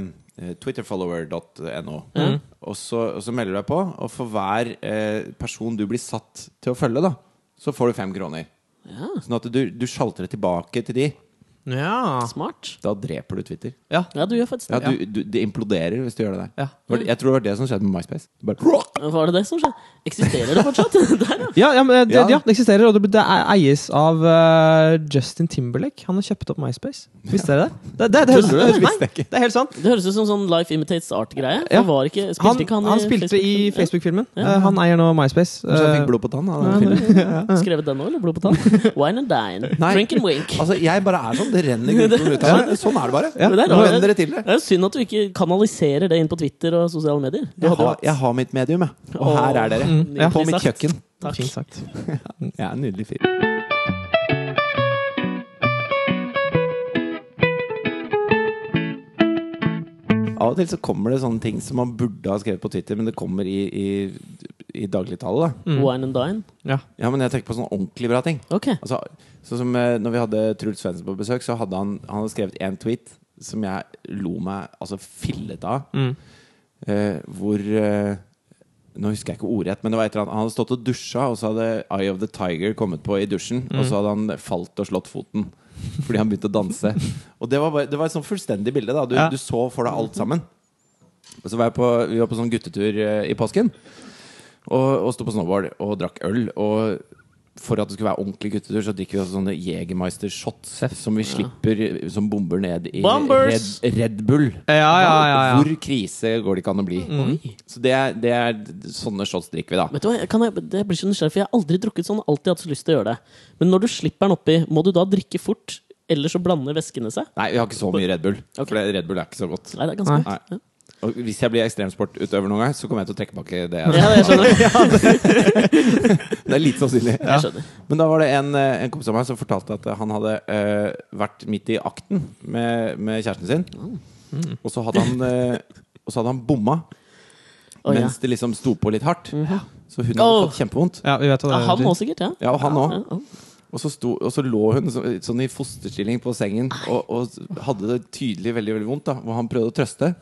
C: twitterfollower.no,
B: Mm.
C: og, så, og så melder du deg på, og for hver eh, person du blir satt til å følge, da, så får du fem kroner.
A: Ja,
C: Sånn at du, du sjalter det tilbake til de.
B: Ja.
A: smart.
C: Da dreper du Twitter.
B: Ja.
A: Ja, du gjør faktisk
C: Ja,
A: det.
C: du, du, det imploderer hvis du gjør det der.
B: Ja.
C: Det var- Jeg tror det var det som skjedde med MySpace. Du Bare, <laughs>
A: Var det det som skjedde? Eksisterer det fortsatt? <laughs> der, ja.
B: Ja, ja, men eh, det,
C: Ja.
B: ja, det eksisterer, og det, det er- eies av eh, Justin Timberlake. Han har kjøpt opp MySpace. Visste dere det? Det, det, det,
C: <laughs>
A: Tuller du?
B: høres-
A: Det visste
B: nei, det er helt sant.
A: Det høres ut som sånn Life Imitates Art-greie.
B: Ja.
A: Han var ikke, spilte
B: Han,
A: ikke han,
B: han spilte i
A: Facebook-filmen?
B: Facebook-filmen. Eh, han eier nå MySpace.
C: Kanskje jeg
B: Eh,
C: fikk blod på tann av den filmen.
A: Ja. Skrevet den òg, eller blod på tann?
C: <laughs>
A: Wine and dine.
C: Nei.
A: Drink and wink.
C: Altså, jeg bare er sånn. Det
B: <laughs>
C: renner grunnen ut av meg. Sånn er det bare.
B: Ja.
A: Men det er
C: Nå
A: rart.
C: venner det til det.
A: Det er jo synd at du ikke kanaliserer det inn på Twitter og sosiale medier. Du
C: Jeg
A: hadde jo
C: har,
A: hatt-
C: jeg har mitt medium, jeg. Og her er dere.
A: Mm,
B: ja.
C: På
A: nydelig
C: mitt
A: sagt.
C: kjøkken.
A: Takk.
B: Fint sagt.
C: Jeg er en nydelig fyr. Av og til så kommer det sånne ting som man burde ha skrevet på Twitter, men det kommer i, i, i dagligtale. da.
A: Wine and dine.
B: Mm. Ja.
C: Ja, men jeg tenker på sånne ordentlig bra ting.
A: Ok.
C: Altså, sånn som eh, når vi hadde Truls Svendsen på besøk, så hadde han, han hadde skrevet en tweet som jeg lo meg altså fillet av.
B: mm.
C: Eh, hvor eh, Nå husker jeg ikke ordrett, men det var et eller annet. Han hadde stått og dusja, og så hadde Eye of the Tiger kommet på i dusjen. Og så hadde han falt og slått foten fordi han begynte å danse. Og det var, bare, det var et sånn fullstendig bilde. da Du,
B: Ja.
C: du så for deg alt sammen. Og så var jeg på, vi var på sånn guttetur eh, i påsken. Og, og sto på snowboard og drakk øl. Og for at det skulle være ordentlig guttetur, så drikker vi også sånne Jegermeister-shots som vi slipper eh, som bomber ned i Red,
A: Bombers!
C: Red Bull.
B: Eh, Ja, ja, ja, Mm. ja.
C: Hvor krise går det ikke an å bli. Så det er, det er sånne shots drikker vi, da.
A: Vet du hva, jeg, kan jeg, det blir så nysgjerrig, for jeg har aldri drukket sånn. Alltid hatt så lyst til å gjøre det. Men når du slipper den oppi, må du da drikke fort? Ellers så blander væskene seg?
C: Nei, vi har ikke så mye Red Bull.
A: Ok.
C: For det- Red Bull er ikke så godt.
A: Nei, det er ganske
C: Nei.
A: godt. Ja.
C: Og hvis jeg blir ekstremsportutøver noen gang, så kommer jeg til å trekke tilbake det.
A: <laughs> Ja, jeg skjønner.
C: <laughs> Det er litt sannsynlig.
A: Jeg skjønner.
C: Men da var det en, eh, en kompis av meg som fortalte at han hadde eh, vært midt i akten med, med kjæresten sin.
A: Mm.
C: Og så hadde han, eh, og så hadde han bomma
A: Å, ja.
C: mens det liksom sto på litt hardt. Så hun hadde
A: Åh.
C: fått kjempevondt.
B: ja, vi vet hva
A: Ja,
B: det
A: han
B: betyr.
A: òg sikkert, ja.
C: eh, Ja, og han òg.
A: ja.
C: Og, så sto- og så lå hun så, sånn i fosterstilling på sengen og, og hadde det tydelig veldig veldig vondt. da Og han prøvde å trøste.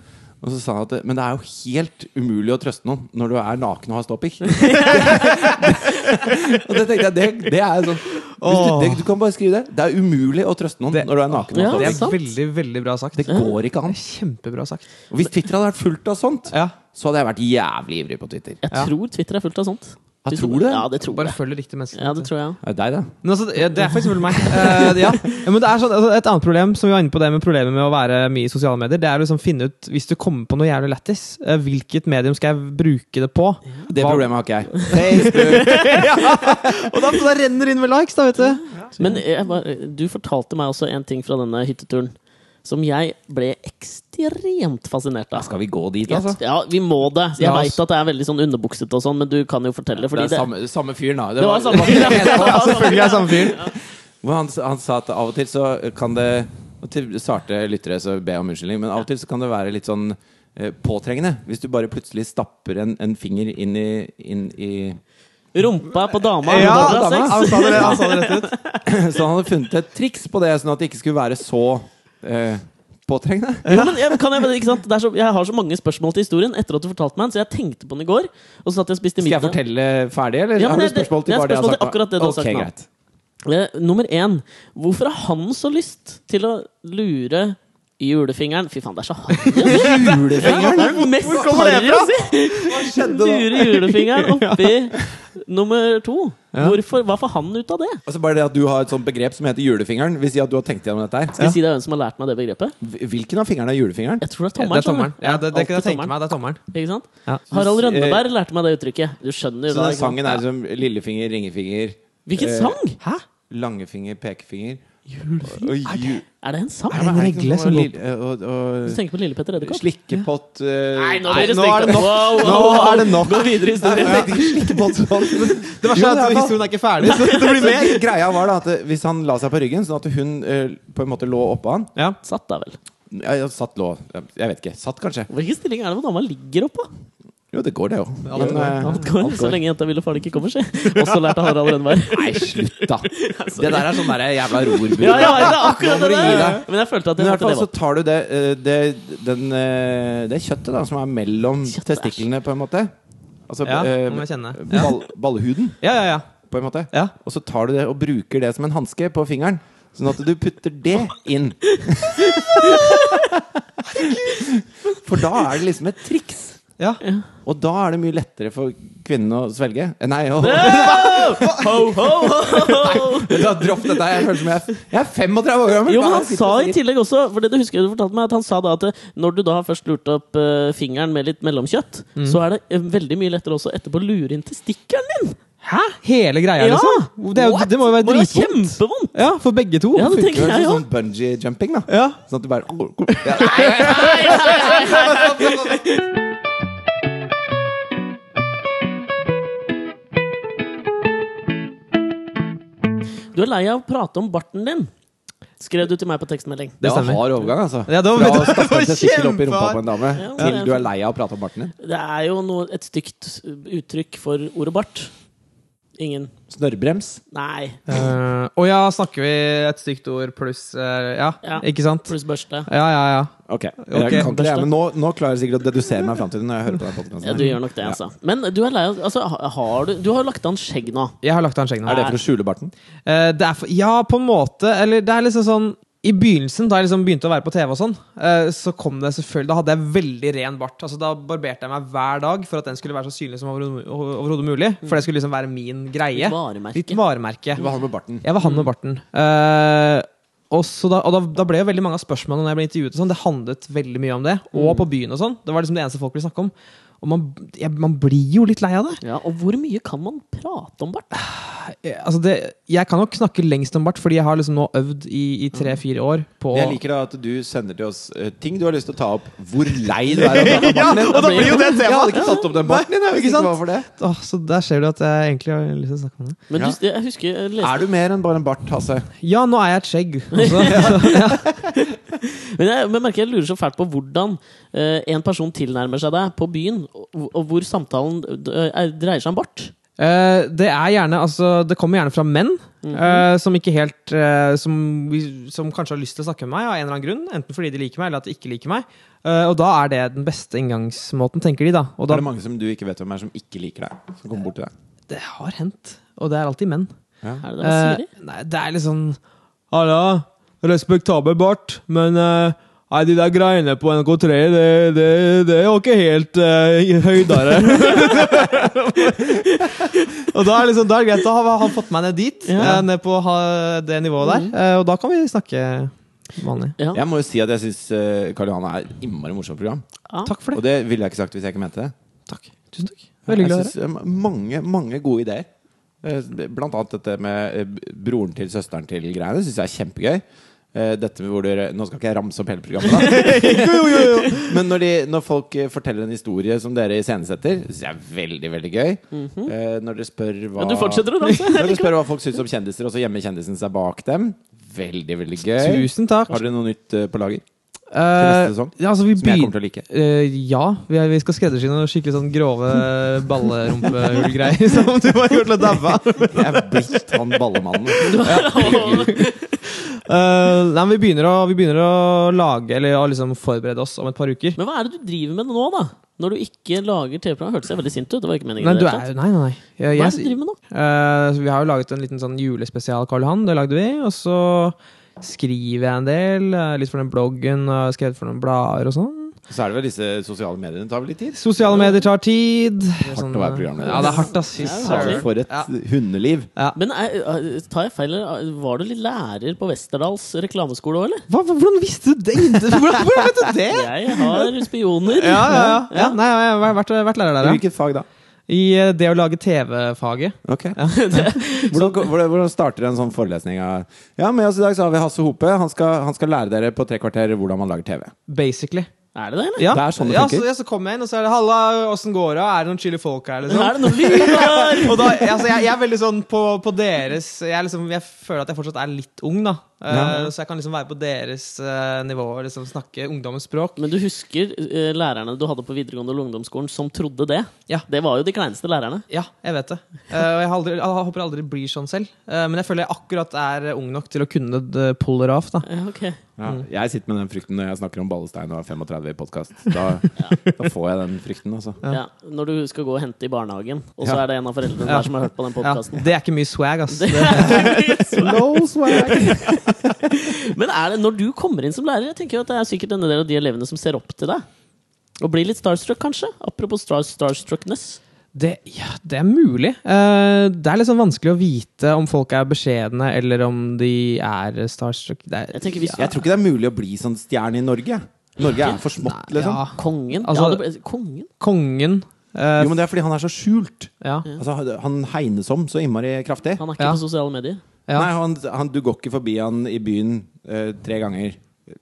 C: Og så sa han at Men det er jo helt umulig å trøste noen når du er naken og har
A: <laughs>
C: ståpikk. <laughs> og det tenkte jeg, det, det er sånn hvis du, det, du kan bare skrive det. Det er umulig å trøste noen
B: Det-
C: når du er naken.
A: Ja,
C: og
B: Det
C: har
B: er
C: ståpikk.
A: sant.
B: veldig, veldig bra sagt.
C: Det går ikke an.
B: Kjempebra sagt.
C: Og hvis Twitter hadde vært fullt av sånt,
B: Ja.
C: så hadde jeg vært jævlig ivrig på Twitter.
A: Jeg
B: Ja.
A: tror Twitter er fullt av sånt.
C: Ja,
A: Hvis
C: tror du det?
A: Ja, det tror
B: Bare
A: jeg.
B: følg riktig menneske.
A: Ja, det tror jeg.
C: Er det deg, da?
B: Men altså, ja, det er for eksempel meg.
C: <laughs>
B: Eh, ja. ja, men det er sånn, altså, Et annet problem som vi var inne på det med problemet med å være mye i sosiale medier, det er å liksom finne ut, hvis du kommer på noe jævlig lættis, eh, hvilket medium skal jeg bruke det på? <laughs>
C: Det
B: Hva-
C: problemet har ikke jeg. Facebook.
B: Og da, da renner det inn med likes, da, vet du.
A: Men jeg, bare- du fortalte meg også en ting fra denne hytteturen som jeg ble ekstremt fascinert av.
C: Skal vi gå dit,
A: Ja,
C: altså?
A: Ja, vi må det. Jeg
B: La oss-
A: veit at det er veldig sånn underbuksete og sånn, men du kan jo fortelle. Fordi
C: det
A: det,
C: er samme, samme fyren, da.
A: det var samme <laughs> altså, fyr.
B: Selvfølgelig er jeg samme fyr.
C: Hvor han, han sa at av og til så kan det og Til sarte lyttere så be om unnskyldning, men av og til så kan det være litt sånn eh, påtrengende. Hvis du bare plutselig stapper en, en finger inn i, inn i <clears throat>
A: Rumpa på dama.
B: Ja,
A: når dere har
B: dama. altså,
A: sex.
B: han, sa det, han sa det rett ut.
C: Så han hadde funnet et triks på det, sånn at det ikke skulle være så eh, påtrengende.
A: Jo, men jeg, kan jeg, ikke sant? Det er så, jeg har så mange spørsmål til historien etter at du fortalte meg den, så jeg tenkte på den i går. Og så satt jeg og spiste
C: Skal jeg
A: middag.
C: fortelle ferdig, eller
A: Ja, men
C: har
A: det-
C: du
A: det-
C: spørsmål
A: det
C: til
A: er
C: bare det jeg
A: spørsmål
C: har
A: til
C: sagt?
A: akkurat det du har
C: Ok,
A: sagt nå.
C: greit.
A: Eh, nummer én. Hvorfor har han så lyst til å lure julefingeren Fy faen, det er så harry.
C: Julefingeren?
A: Det er mest harry å si! Lure julefingeren oppi nummer to. Hvorfor, hva får han ut av det?
C: <laughs> Altså bare det at du har et sånt begrep som heter julefingeren, vil si at du har tenkt gjennom dette her.
A: Skal vi si det er hvem som har lært meg det begrepet?
C: Hvilken av fingrene er julefingeren?
A: Jeg tror det er
B: Det
A: tommelen.
B: er tommeren.
A: skjønner du?
B: Ja, det, det kan jeg
A: Alltid
B: tenke meg. Det er tommeren.
A: Ikke sant?
B: Ja.
A: Harald
C: Så, eh,
A: Rønneberg lærte meg det uttrykket. Du skjønner jo
C: Så den
A: det, ikke sant?
C: sangen er som lillefinger, ringefinger
A: Hvilken
C: eh,
A: sang? Hæ?
C: Langefinger, pekefinger Julefinger? Og, ju-
A: Er det en sang?
C: Nei, men er det ikke
B: regle
C: noe
B: som
C: lille- og,
A: Du
C: og,
A: tenker på Lille Petter Edderkopp?
C: Slikkepott eh,
A: er det
B: nå er det
A: nok! Wow, wow,
B: Nå
A: wow.
B: er det nok.
A: Gå videre i historien. <laughs>
C: Jeg tenkte ikke slikkepott sånn, men-
B: Det verste
C: Jo,
B: er
C: det
B: at
C: er bra.
B: historien er ikke ferdig. Så det blir mer.
C: Men Greia var da at eh, hvis han la seg på ryggen, sånn at hun eh, på en måte lå oppå han
B: Ja.
A: Satt da vel.
C: ja, ja, Satt lå, jeg vet ikke, satt kanskje
A: Hvilken stilling er det hvor dama ligger oppå?
C: Jo, det eh, går, det òg.
A: Alt går,
B: eh,
A: alt går, så lenge jenta vil og faren ikke kommer, si. Også lærte Harald Rønneberg.
C: Nei, slutt, da! Det der er sånn derre jævla rorbu.
A: Ja, jeg vet det, akkurat det
C: Nå må du gi
A: der!
C: deg.
A: Men jeg følte at
C: Men i
A: jeg
C: hvert
A: hørte det
C: fall så
A: var
C: tar du det, eh, det, den, eh, det kjøttet da, som er mellom
A: Kjøttet.
C: testiklene, på en måte. Altså
B: Ja,
C: eh,
B: må jeg kjenne.
C: ball, ballhuden,
B: Ja, ja, ja.
C: på en måte.
B: ja.
C: Og så tar du det og bruker det som en hanske på fingeren. Sånn at du putter det inn. For da er det liksom et triks.
B: ja.
C: Og da er det mye lettere for kvinnen å svelge. Eh, Nei, å,
A: Ho, ho, ho, ho!
C: da dropp dette! Jeg føler som jeg er, jeg er 35 år gammel!
A: Jo, men
C: Hva er
A: han
C: det jeg
A: sa i
C: sitter og sier?
A: tillegg også For det du husker du fortalte meg At han sa da at eh, Når du da har først lurt opp eh, fingeren med litt mellomkjøtt
B: Mm.
A: Så er det eh, veldig mye lettere også etterpå å lure inn testikkelen din
B: Hæ? Hele greia,
A: Ja.
B: liksom? Det, er, jo- det må jo være
A: Må det være
B: dritvondt.
A: kjempevondt
B: Ja, for begge to.
A: Ja, det
C: Det
A: tenker
C: er
A: jeg jo
C: sånn bungee jumping, da.
B: Ja.
C: Sånn at du bare ja, nei, nei, nei, nei.
A: Du er lei av å prate om barten din Skrev du til meg på tekstmelding
B: Det stemmer.
C: var overgang, altså.
B: Ja, det var- <laughs>
C: Fra å
B: det var
C: stappe en testikkel opp i rumpa
B: kjempehard.
C: på en dame
A: Ja, det
C: til
A: er-
C: du er lei av å prate om barten din.
A: Det er jo noe, et stygt uttrykk for ordet bart Ingen
C: Snørrbrems.
A: Nei
B: Eh, og ja, snakker vi et stygt ord pluss eh, ja,
A: Ja.
B: ikke sant?
A: Pluss børste
B: Ja, ja, ja.
C: Ok, jeg
B: Ok.
C: kan ikke det, men nå, nå klarer jeg sikkert å dedusere meg fram til det når jeg hører på den podcasten
A: Ja,
C: her.
A: du gjør nok det altså Men du er lei av Altså, ha- har du Du har jo lagt an skjegg nå
B: Jeg har lagt av en skjegg nå.
C: Er det for å skjule barten?
B: Eh, det er for, ja, på en måte. Eller det er liksom sånn I begynnelsen, da jeg liksom begynte å være på TV, og sånn eh, Så kom det selvfølgelig Da hadde jeg veldig ren bart. Altså Da barberte jeg meg hver dag for at den skulle være så synlig som overho- overhodet mulig. For det skulle liksom være min greie.
A: Litt varemerke.
B: Litt varemerke.
C: Hva har du med barten?
B: Jeg var han med barten. Eh, og så da, og da, da ble jo veldig mange av spørsmålene når jeg ble intervjuet, og sånn, det handlet veldig mye om det. Og på byen og sånn. Det var liksom det eneste folk ville snakke om. Og man, jeg, man blir jo litt lei av det.
A: Ja, og hvor mye kan man prate om bart?
B: Eh, Altså det. Jeg kan nok snakke lengst om bart, fordi jeg har liksom nå øvd i, i tre-fire år på
C: Jeg liker da at du sender til oss eh, ting du har lyst til å ta opp. Hvor lei du
A: <laughs>
C: er av barten din.
A: og da blir jo det
C: Jeg hadde ikke tatt opp den barten din. jeg vet
B: Ikke
C: ikke
B: sant?
C: hva for det.
B: Åh, Så der ser du at jeg egentlig har lyst til å snakke om det.
A: Men
C: Ja.
A: du, jeg husker jeg leste
C: Er du mer enn bare en bart, Hasse?
B: Ja, nå er jeg et skjegg. altså. Også. <laughs>
A: Men jeg, men jeg merker jeg lurer så fælt på hvordan eh, en person tilnærmer seg deg på byen, og, og hvor samtalen eh, er- dreier seg om bart.
B: Eh, det er gjerne, altså, det kommer gjerne fra menn
C: Mhm.
B: eh, som ikke helt eh, som, vi- som kanskje har lyst til å snakke med meg av en eller annen grunn. Enten fordi de liker meg, eller at de ikke liker meg. Eh, og da er det den beste inngangsmåten, tenker de da. Og da
C: Er det mange som du ikke vet hvem er, som ikke liker deg? Som kommer bort til deg?
B: det har hendt. Og det er alltid menn.
A: Er det det man sier?
B: Eh, nei, det er litt sånn Halla, respektabel bart, men eh, Nei, de der greiene på NRK3, det, det, det var ikke helt eh, høydere. og da er liksom, da er det greit. Da har han fått meg ned dit,
A: Ja.
B: eh, ned på ha- det nivået der. eh, og da kan vi snakke vanlig.
A: Ja.
C: Jeg må jo si at jeg syns eh, Karl Johan er et innmari morsomt program.
A: Ja.
B: Takk for
C: Og
B: det.
C: det ville jeg ikke sagt hvis jeg ikke mente det.
B: Takk. Tusen takk. Veldig
C: Jeg
B: glad i
C: synes, eh, mange, mange gode ideer. Eh, Blant annet dette med eh, broren til søsteren til greiene syns jeg er kjempegøy. Eh, Dette med hvor dere, Nå skal ikke jeg ramse opp hele
B: <laughs>
C: programmet, da. Men når, de, når folk eh, forteller en historie som dere iscenesetter, syns jeg er veldig veldig gøy.
B: Mhm.
C: Eh, Når dere spør hva
A: Men du fortsetter å
C: <laughs>
A: danse.
C: Når dere spør hva folk syns om kjendiser, og så gjemmer kjendisen seg bak dem. Veldig, veldig gøy.
B: Tusen takk.
C: Har dere noe nytt eh, på lager?
B: Eh,
C: neste sesong?
B: ja, altså, vi
C: Som jeg
B: begyn-
C: kommer til å like.
B: Eh, ja, vi, er, vi skal skreddersy noen skikkelig sånn grove ballerumpehullgreier <laughs> som du har gjort til å daue av.
C: Jeg er blitt han ballemannen.
B: Eh, nei, men vi begynner, å, vi begynner å lage, eller å liksom forberede oss om et par uker.
A: <laughs> Men hva er det du driver med nå, da? Når du ikke lager TV-program? Hørtes jeg veldig sint ut? Det var ikke meningen.
B: Nei,
A: i det
B: du
A: hele
B: er,
A: tatt.
B: nei, nei, nei. Jeg-
A: Hva er
B: jeg-
A: det du driver med nå?
B: Eh, så vi har jo laget en liten sånn julespesial, Karl Johan. Det lagde vi. Og så skriver jeg en del. eh, litt for den bloggen, og skrevet for noen blader og sånn.
C: Så er det vel disse sosiale mediene tar vel litt tid?
B: Sosiale medier tar tid. sånn,
C: Hardt å være programleder.
B: eh, Ja, det er hardt, ass. Fy
A: Ja, det er
B: søren.
A: hardt.
C: For et hundeliv.
A: Men er, er- tar jeg feil? eller eh, Var du litt lærer på Westerdals reklameskole òg, eller?
B: Hva, hvordan visste du det? <laughs> Hvordan, hvordan vet du det?
A: Jeg har spioner.
B: Ja, ja, ja. ja nei, jeg har vært, vært lærer der, ja.
C: Hvilket fag da?
B: I eh, det å lage TV-faget.
C: Ok <laughs> hvordan, hvordan, hvordan starter en sånn forelesning? av- Ja, Med oss i dag så har vi Hasse Hope. Han skal, han skal lære dere på tre kvarter hvordan man lager TV.
B: Basically.
A: Er det det, eller?
B: Ja.
C: Det er sånn det
B: ja,
C: funker.
B: Så, ja, så kommer jeg inn, og så er det 'halla, åssen går det?' Er det noen chille folk her?
C: <laughs>
B: Liksom?
A: Er det noe liv
B: <laughs>
A: her?
B: Og da, altså, jeg, jeg er veldig sånn på, på deres jeg, er liksom, jeg føler at jeg fortsatt er litt ung, da. Eh,
C: Ja.
B: Så jeg kan liksom være på deres eh, nivå og liksom snakke ungdommens språk.
A: Men du husker eh, lærerne du hadde på videregående og ungdomsskolen som trodde det?
B: Ja.
A: Det var jo de kleineste lærerne.
B: Ja, jeg vet det. Eh, og jeg, har aldri, jeg håper jeg aldri blir sånn selv. Eh, men jeg føler jeg akkurat er ung nok til å kunne eh, pull it off. Da.
A: Ja, ok.
C: Ja,
B: Mm.
C: jeg sitter med den frykten når jeg snakker om Ballestein og er 35 i
B: <laughs>
C: podkast. Da, da får jeg den frykten, altså.
A: Ja. Når du skal gå og hente i barnehagen, og så
C: Ja.
A: er det en av foreldrene
B: Ja.
A: der som har hørt på den
B: Ja,
A: podkasten.
B: det er ikke mye swag, ass. Det,
C: No swag!
A: Men er det, når du kommer inn som lærer, jeg tenker jo at det er sikkert en del av de elevene som ser opp til deg. Og blir litt starstruck, kanskje? Apropos star starstruckness.
B: det, ja, det er mulig. Eh, det er litt sånn vanskelig å vite om folk er beskjedne, eller om de er starstruck. Det er,
A: Jeg tenker hvis
C: Jeg tror ikke det er mulig å bli sånn stjerne i Norge. Norge er for smått, liksom.
B: ja.
A: Kongen?
B: Altså-
A: ja, det ble, kongen?
B: Kongen eh,
C: Jo, men det er fordi han er så skjult.
B: ja.
C: Altså, han hegnes om så innmari kraftig.
A: Han er ikke
B: Ja.
A: på sosiale medier.
B: Ja.
C: Nei, han, han, Du går ikke forbi han i byen eh, tre ganger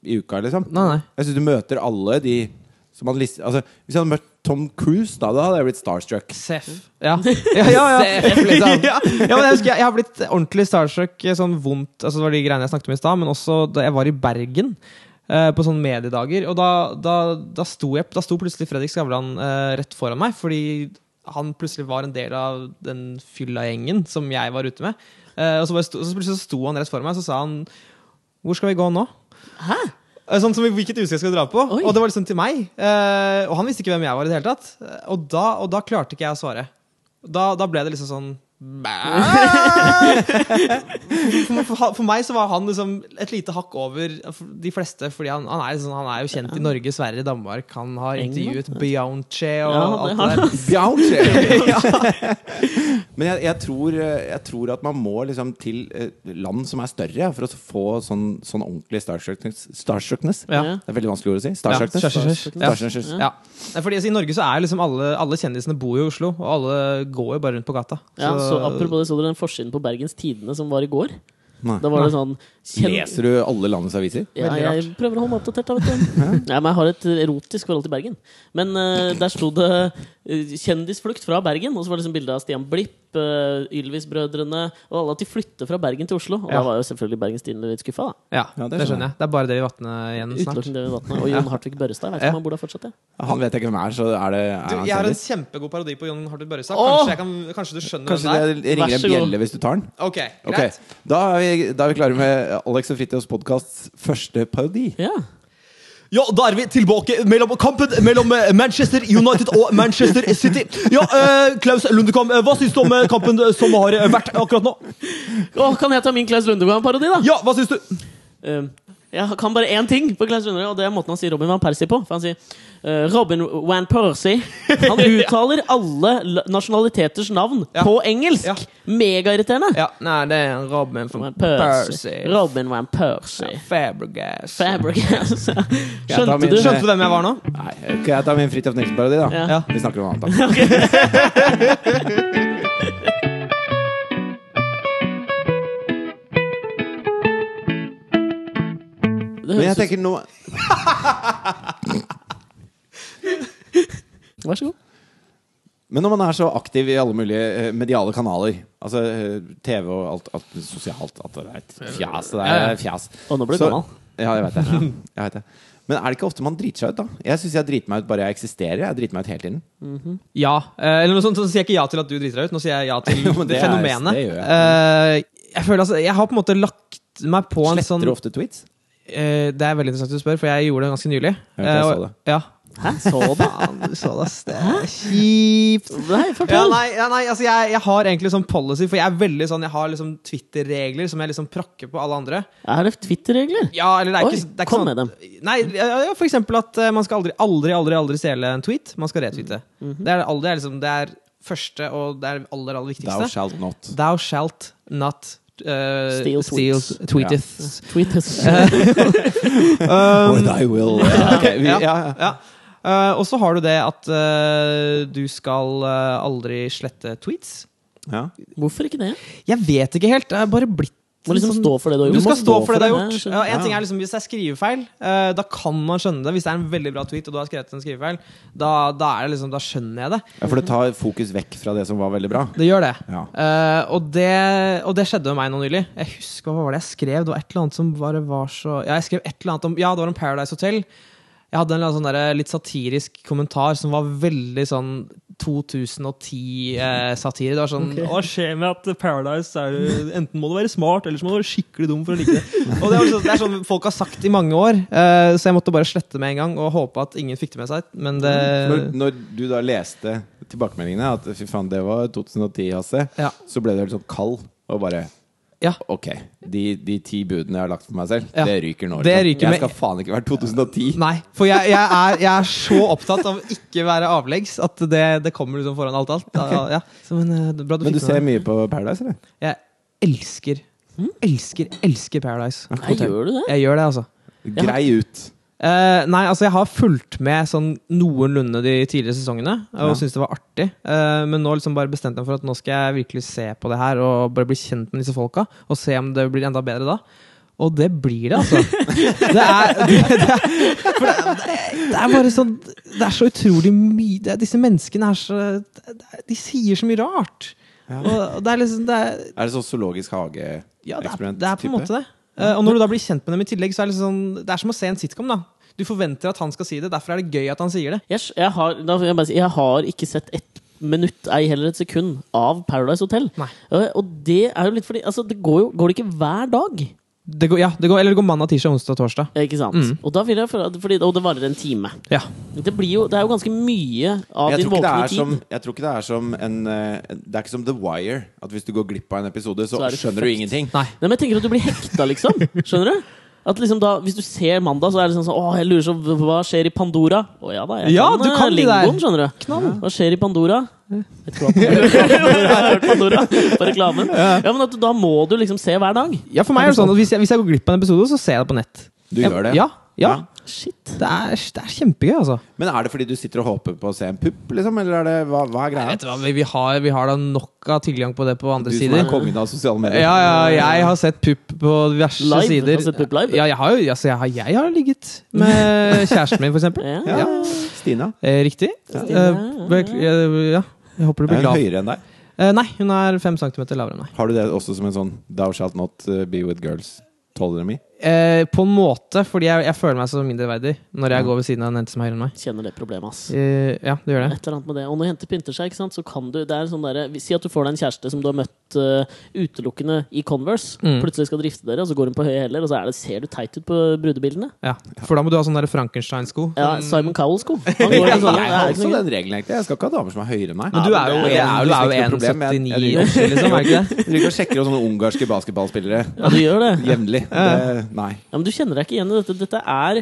C: i uka, liksom.
B: Nei, nei.
C: Jeg syns du møter alle de som han lister altså, Hvis jeg hadde møtt Tom Cruise, da, da hadde jeg blitt starstruck.
B: Seff. Ja. Ja, ja, ja. Liksom. <laughs> ja, men jeg husker jeg, jeg har blitt ordentlig starstruck. eh, Sånn vondt, altså Det var de greiene jeg snakket om i stad, men også da jeg var i Bergen. eh, på sånne mediedager. Og da, da, da, sto jeg, da sto plutselig Fredrik Skavlan eh, rett foran meg, fordi han plutselig var en del av den fylla gjengen som jeg var ute med. Eh, og så, bare sto, så plutselig så sto han rett foran meg, så sa han Hvor skal vi gå nå?
A: Hæ?
B: Eh, Sånn som i hvilket utested skal vi dra på?
A: Oi.
B: Og det var liksom til meg. Eh, og han visste ikke hvem jeg var i det hele tatt. Eh, Og da, og da klarte ikke jeg å svare. Da, da ble det liksom sånn <laughs> for, for, for meg så var han liksom et lite hakk over de fleste, fordi han, han, er, liksom, han er jo kjent i Norge, Sverige, Danmark. Han har
A: England,
B: intervjuet Beyoncé og
A: Ja, det har
B: alt det der. <laughs>
C: Bjauche! <laughs> Men jeg, jeg, tror, eh, jeg tror at man må liksom til eh, land som er større, for å få sånn, sånn ordentlig starstruckness. starstruckness.
B: Ja.
A: Ja.
C: Det er veldig vanskelig ord å si.
B: Ja,
C: Starstruckness.
B: shush, shush, shush. Ja.
C: Starstruckness.
B: Ja. Nei, Fordi altså, I Norge så er liksom alle, alle kjendisene bor jo i Oslo, og alle går jo bare rundt på gata.
A: Ja, så, apropos det, så dere den forsiden på Bergens Tidende som var i går?
C: Nei.
A: Da var det sånn kjen-
C: Leser du alle landets aviser?
A: Ja,
B: Veldig
A: jeg prøver å holde meg oppdatert. da, vet <laughs> du. Nei, men jeg har et erotisk forhold til Bergen. Men eh, der sto det eh, 'Kjendisflukt fra Bergen', og så var det liksom bilde av Stian Blipp, eh, Ylvis-brødrene og alle at de flytter fra Bergen til Oslo. Og
B: Ja.
A: da var jo selvfølgelig Bergens Tidende litt skuffa. da.
B: Ja,
C: Ja, det
B: det,
C: skjønner
B: skjønner jeg. Det er bare det vi vatner igjen snart.
A: Utelukkende David Vatne og Jon Hartvig Børrestad. Jeg vet ikke
B: Ja.
A: om han bor der fortsatt. Ja.
C: Han vet jeg ikke hvem er, så er det er
B: Du,
C: han
B: jeg har en
C: kjendis?
B: kjempegod parodi på Jon Hartvig Børrestad.
A: Åh!
B: Kanskje, jeg kan, kanskje du skjønner
C: Kanskje
B: den der?
C: det ringer
A: Vær
C: en
A: så god.
C: bjelle hvis du tar den?
B: Ok,
C: Ok,
B: greit.
C: da er, vi, da er vi klare med Alex og Fritjofs podkasts første parodi.
A: Ja.
F: Ja, da er vi tilbake mellom kampen mellom eh, Manchester United og Manchester City. Ja, eh, Klaus Lundekam, eh, hva syns du om eh, kampen eh, som har eh, vært akkurat nå?
A: Å, kan jeg ta min Klaus Lundegård-parodi, da?
F: Ja, hva syns du?
A: Eh, jeg kan bare én ting på Klaus Lundegård, og det er måten han sier Robin van Persie på. For han sier eh, Robin van Persie.
B: <laughs>
A: Han uttaler alle l- nasjonaliteters navn
B: Ja.
A: på engelsk!
B: Ja.
A: Megairriterende!
B: <laughs> Ja, nei, det er Robin fra
A: Van
B: Percy.
A: Persie. Robin van Persie.
B: Fabregas.
A: Fabregas. <laughs>
C: tar
A: Skjønte
C: min-
A: du?
B: Skjønte du hvem jeg var nå?
C: Nei, Kan jeg ta min Fridtjof Nilsen-parodi, da?
A: Ja.
B: Ja.
C: Vi snakker om noe annet. da.
A: Det
C: Men
A: høres
C: jeg tenker nå
A: ut- Vær så god.
C: Men når man er så aktiv i alle mulige eh, mediale kanaler, altså eh, TV og alt, alt sosialt At det er et fjas. Det
B: Ja, ja.
C: er fjas.
A: Og nå ble du
C: Så-
A: gammel.
C: Ja, jeg vet
B: <laughs>
C: det. Jeg vet det. Men er det ikke ofte man driter seg ut, da? Jeg syns jeg driter meg ut bare jeg eksisterer. Jeg driter meg ut hele tiden.
B: Ja. eh, Eller noe sånt, så sier jeg ikke ja til at du driter deg ut. Nå sier jeg ja til
C: <laughs> Jo, men
B: det,
C: det er-
B: fenomenet.
C: det gjør jeg.
B: Eh, jeg føler altså Jeg har på en måte lagt meg på en
C: Sletter
B: sånn
C: du ofte tweets?
B: eh, Det er veldig interessant du spør, for jeg gjorde det ganske nylig.
C: vet, jeg
B: Eh,
C: så
B: og-
C: det.
B: Ja.
A: Hæ, så du?
B: <laughs> Faen, du så det, ass. Det er kjipt.
A: Nei,
B: Ja,
A: fortell!
B: nei, ja, nei altså jeg, jeg har egentlig sånn policy, for jeg er veldig sånn Jeg har liksom Twitter-regler som jeg liksom prakker på alle andre.
A: Er det Twitter-regler?
B: Ja, eller det er
A: Oi,
B: ikke, det er ikke
A: kom
B: sånn,
A: med dem.
B: Nei, ja, ja, for eksempel at eh, man skal aldri, aldri, aldri, aldri stjele en tweet. Man skal retweete.
A: Mm-hmm.
B: Det er aldri, det er liksom, det er første og det er aller, aller
C: Thou
B: viktigste.
C: shalt not.
B: Thou shalt not uh,
A: Steal tweets.
B: tweeteth. <laughs>
A: Tweeters.
C: Or thy will. Ja, ok, vi, ja, ja.
B: Um, Ja. Eh, og så har du det at eh, du skal eh, aldri slette tweets.
C: Ja.
A: Hvorfor ikke det?
B: Jeg vet ikke helt. Det er bare blitt sånn
A: Du må liksom stå for det du har gjort.
B: Du
A: må
B: skal stå for det du har
A: jeg
B: gjort. Ja,
A: skjønner.
B: en ting er liksom, Hvis det er skrivefeil, eh, da kan man skjønne det. Hvis det er en veldig bra tweet, og du har skrevet en skrivefeil, da, da, er det liksom, da skjønner jeg det.
C: Ja, for det tar fokus vekk fra det som var veldig bra.
B: Det gjør det.
C: Ja.
B: Eh, og det. Og det skjedde med meg nå nylig. Jeg husker hva var det jeg skrev. Det var et eller annet som bare var så Ja, jeg skrev et eller annet om Ja, det var om Paradise Hotel. Jeg hadde en eller annen sånn der litt satirisk kommentar som var veldig sånn 2010-satire. det var sånn
F: Hva skjer med at Paradise er jo- Enten må du være smart, eller så må du være skikkelig dum for å like det.
B: Og det er, sånn, det er sånn folk har sagt i mange år, eh, så jeg måtte bare slette med en gang og håpe at ingen fikk det med seg. Men det
C: Når, når du da leste tilbakemeldingene, at fy faen, det var 2010, Hasse,
B: Ja.
C: så ble du helt sånn kald og bare
B: Ja.
C: Ok, de, de ti budene jeg har lagt for meg selv,
B: Ja.
C: det ryker nå.
B: Det
C: liksom.
B: ryker med-
C: jeg skal faen ikke være 2010.
B: Nei, for jeg, jeg, er, jeg er så opptatt av å ikke være avleggs at det, det kommer liksom foran alt alt. Ja, ja. Så, men, eh, bra du
C: Men
B: fikk
C: du ser Hm?
B: med
C: mye på Paradise, eller?
B: det. Jeg elsker, elsker, elsker Paradise.
A: Nei, gjør du det?
B: Jeg gjør det, altså.
C: Grei ut.
B: Eh, nei, altså jeg har fulgt med sånn noenlunde de tidligere sesongene og
C: Ja.
B: syntes det var artig. Eh, men nå liksom bare bestemte jeg meg for at nå skal jeg virkelig se på det her og bare bli kjent med disse folka. Og se om det blir enda bedre da. Og det blir det, altså. Det er, <laughs> det, det er, for det, det er bare sånn Det er så utrolig mye det er, Disse menneskene er så det er, De sier så mye rart. Og, og det er liksom det er,
C: Er det sånn zoologisk
B: ja, det er,
C: hage-eksperiment?
B: det er på en måte det. Eh, og når du da blir kjent med dem i tillegg, så er det, liksom sånn, det er som å se en sitcom. da Du forventer at han skal si det, derfor er det gøy at han sier det.
A: Jeg, jeg, har, da, får jeg, bare si, jeg har ikke sett ett minutt, ei heller et sekund, av Paradise Hotel.
B: Nei.
A: Eh, Og det er jo litt fordi altså, Det går jo går det ikke hver dag.
B: Det går, ja, det går, eller det går mandag, tirsdag, onsdag og torsdag.
A: eh, Ikke sant?
C: Mm.
A: Og, da vil jeg, føle at- fordi, og det varer en time.
B: Ja.
A: Det, blir jo, det er jo ganske mye av
C: Jeg
A: din
C: tror, ikke det
A: våkne
C: er
A: tid.
C: som, jeg tror ikke det er som en eh, Det er ikke som The Wire. At hvis du går glipp av en episode, så,
A: Så er det
C: skjønner du
A: perfekt.
C: ingenting.
B: Nei.
A: Nei, men jeg tenker at du blir hekta, liksom. Skjønner du? At liksom da, Hvis du ser mandag, så er det liksom sånn Åh, jeg lurer så hva- hva skjer i Pandora? Å ja da, jeg
B: Ja,
A: kan,
B: du
A: eh,
B: kan de der.
A: lingoen, skjønner du. Hva skjer i Pandora? Vet ikke hva
B: <laughs>
A: Pandora er. Pandora på reklamen. Ja, men at du, Da må du liksom se hver dag.
B: ja, for meg er det sånn at hvis jeg, hvis jeg går glipp av en episode, så ser jeg det på nett.
C: Du
B: jeg,
C: gjør det.
B: Ja, ja.
C: Ja.
A: Shit.
B: Det, er, det er kjempegøy, altså.
C: Men er det fordi du sitter og håper på å se en pupp, liksom? Eller er det, hva, hva er greia?
B: Vet du hva, vi, vi, har, vi har da nok av tilgang på det på
C: Du
B: andre
C: som er
B: sider.
C: kongen av sosiale medier.
B: Ja, ja, jeg har sett pupp på diverse
A: Live?
B: sider.
A: Har du sett pupp live?
B: Ja, jeg har jo altså, jeg har, jeg har ligget med kjæresten min, for
A: <laughs>
B: eksempel.
A: Ja.
C: Ja. Stina.
B: Eh, riktig. Ja. ja. Jeg håper du blir
C: Er hun
B: glad.
C: høyere enn deg?
B: Eh, nei, hun er fem centimeter lavere enn meg.
C: Har du det også som en sånn Thou shalt not uh, be with girls? Tåler de meg?
B: Eh, på en måte, fordi jeg, jeg føler meg så mindreverdig når jeg går ved siden av en jente som er høyere enn meg.
A: Kjenner det problemet, ass.
B: Eh, ja, det gjør det.
A: Et eller annet med det. Og når jenter pynter seg, ikke sant, så kan du det er en sånn derre- Si at du får deg en kjæreste som du har møtt eh, utelukkende i Converse.
B: Mm.
A: Plutselig skal drifte dere, og så går hun på høye hæler, og så er det, ser du teit ut på brudebildene.
B: Ja. For da må du ha sånne der Frankenstein-sko.
A: Ja, Simon Cowell-sko. Han går i
C: Jeg
A: sånne. Det
C: har
A: er ikke
C: også
A: noe
C: den regelen, egentlig. Jeg skal ikke ha damer som er høyere enn meg.
B: Men du er jo,
C: det
B: det er jo, du er jo
C: liksom ikke noe problem.
B: 1,79
C: Jeg- jeg-
B: også, liksom, er det ikke det?
C: Jeg driver og sjekker om sånne ungarske basketballspillere
A: Ja, du gjør det.
C: jevnlig. Det- Nei.
A: Ja, men du kjenner deg ikke igjen i dette. Dette er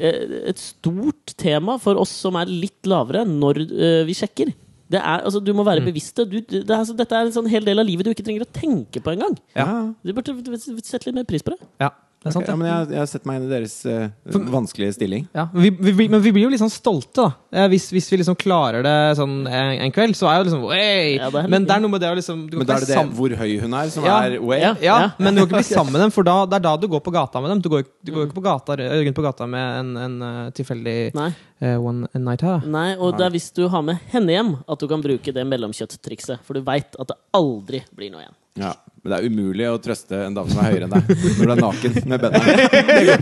A: eh, et stort tema for oss som er litt lavere, når eh, vi sjekker. Det er, altså, du må være bevisst det. Du, det er, altså, dette er en sånn hel del av livet du ikke trenger å tenke på engang.
C: Ja.
A: Du burde v- v- sette litt mer pris på det.
B: Ja, det er sant,
C: Ja,
B: det.
C: men jeg, jeg har sett meg inn i deres eh, vanskelige stilling.
B: Ja, vi, vi, vi- men vi blir jo litt sånn stolte, da. Eh, Hvis, hvis vi liksom klarer det sånn en, en kveld, så er jo liksom «Oi!»
A: Ja, det er
B: Men
A: litt-
B: det er noe med det å liksom du kan
C: Men da er
B: ikke
C: det
B: være
C: det
B: sam-
C: hvor høy hun er, som
B: Ja.
C: er way.
A: Ja.
B: Ja, men du kan <laughs> ikke bli sammen med dem, for da, det er da du går på gata med dem. Du går, ikke- du går ikke på gata, rundt på gata med en, en eh, tilfeldig
A: Nei,
B: eh, one night her. da.
A: Nei og det er hvis du har med henne hjem, at du kan bruke det mellomkjøtttrikset. For du veit at det aldri blir noe igjen.
C: Ja. Men det er umulig å trøste en dame som er høyere enn deg, når du er naken med
B: <laughs>
C: bena.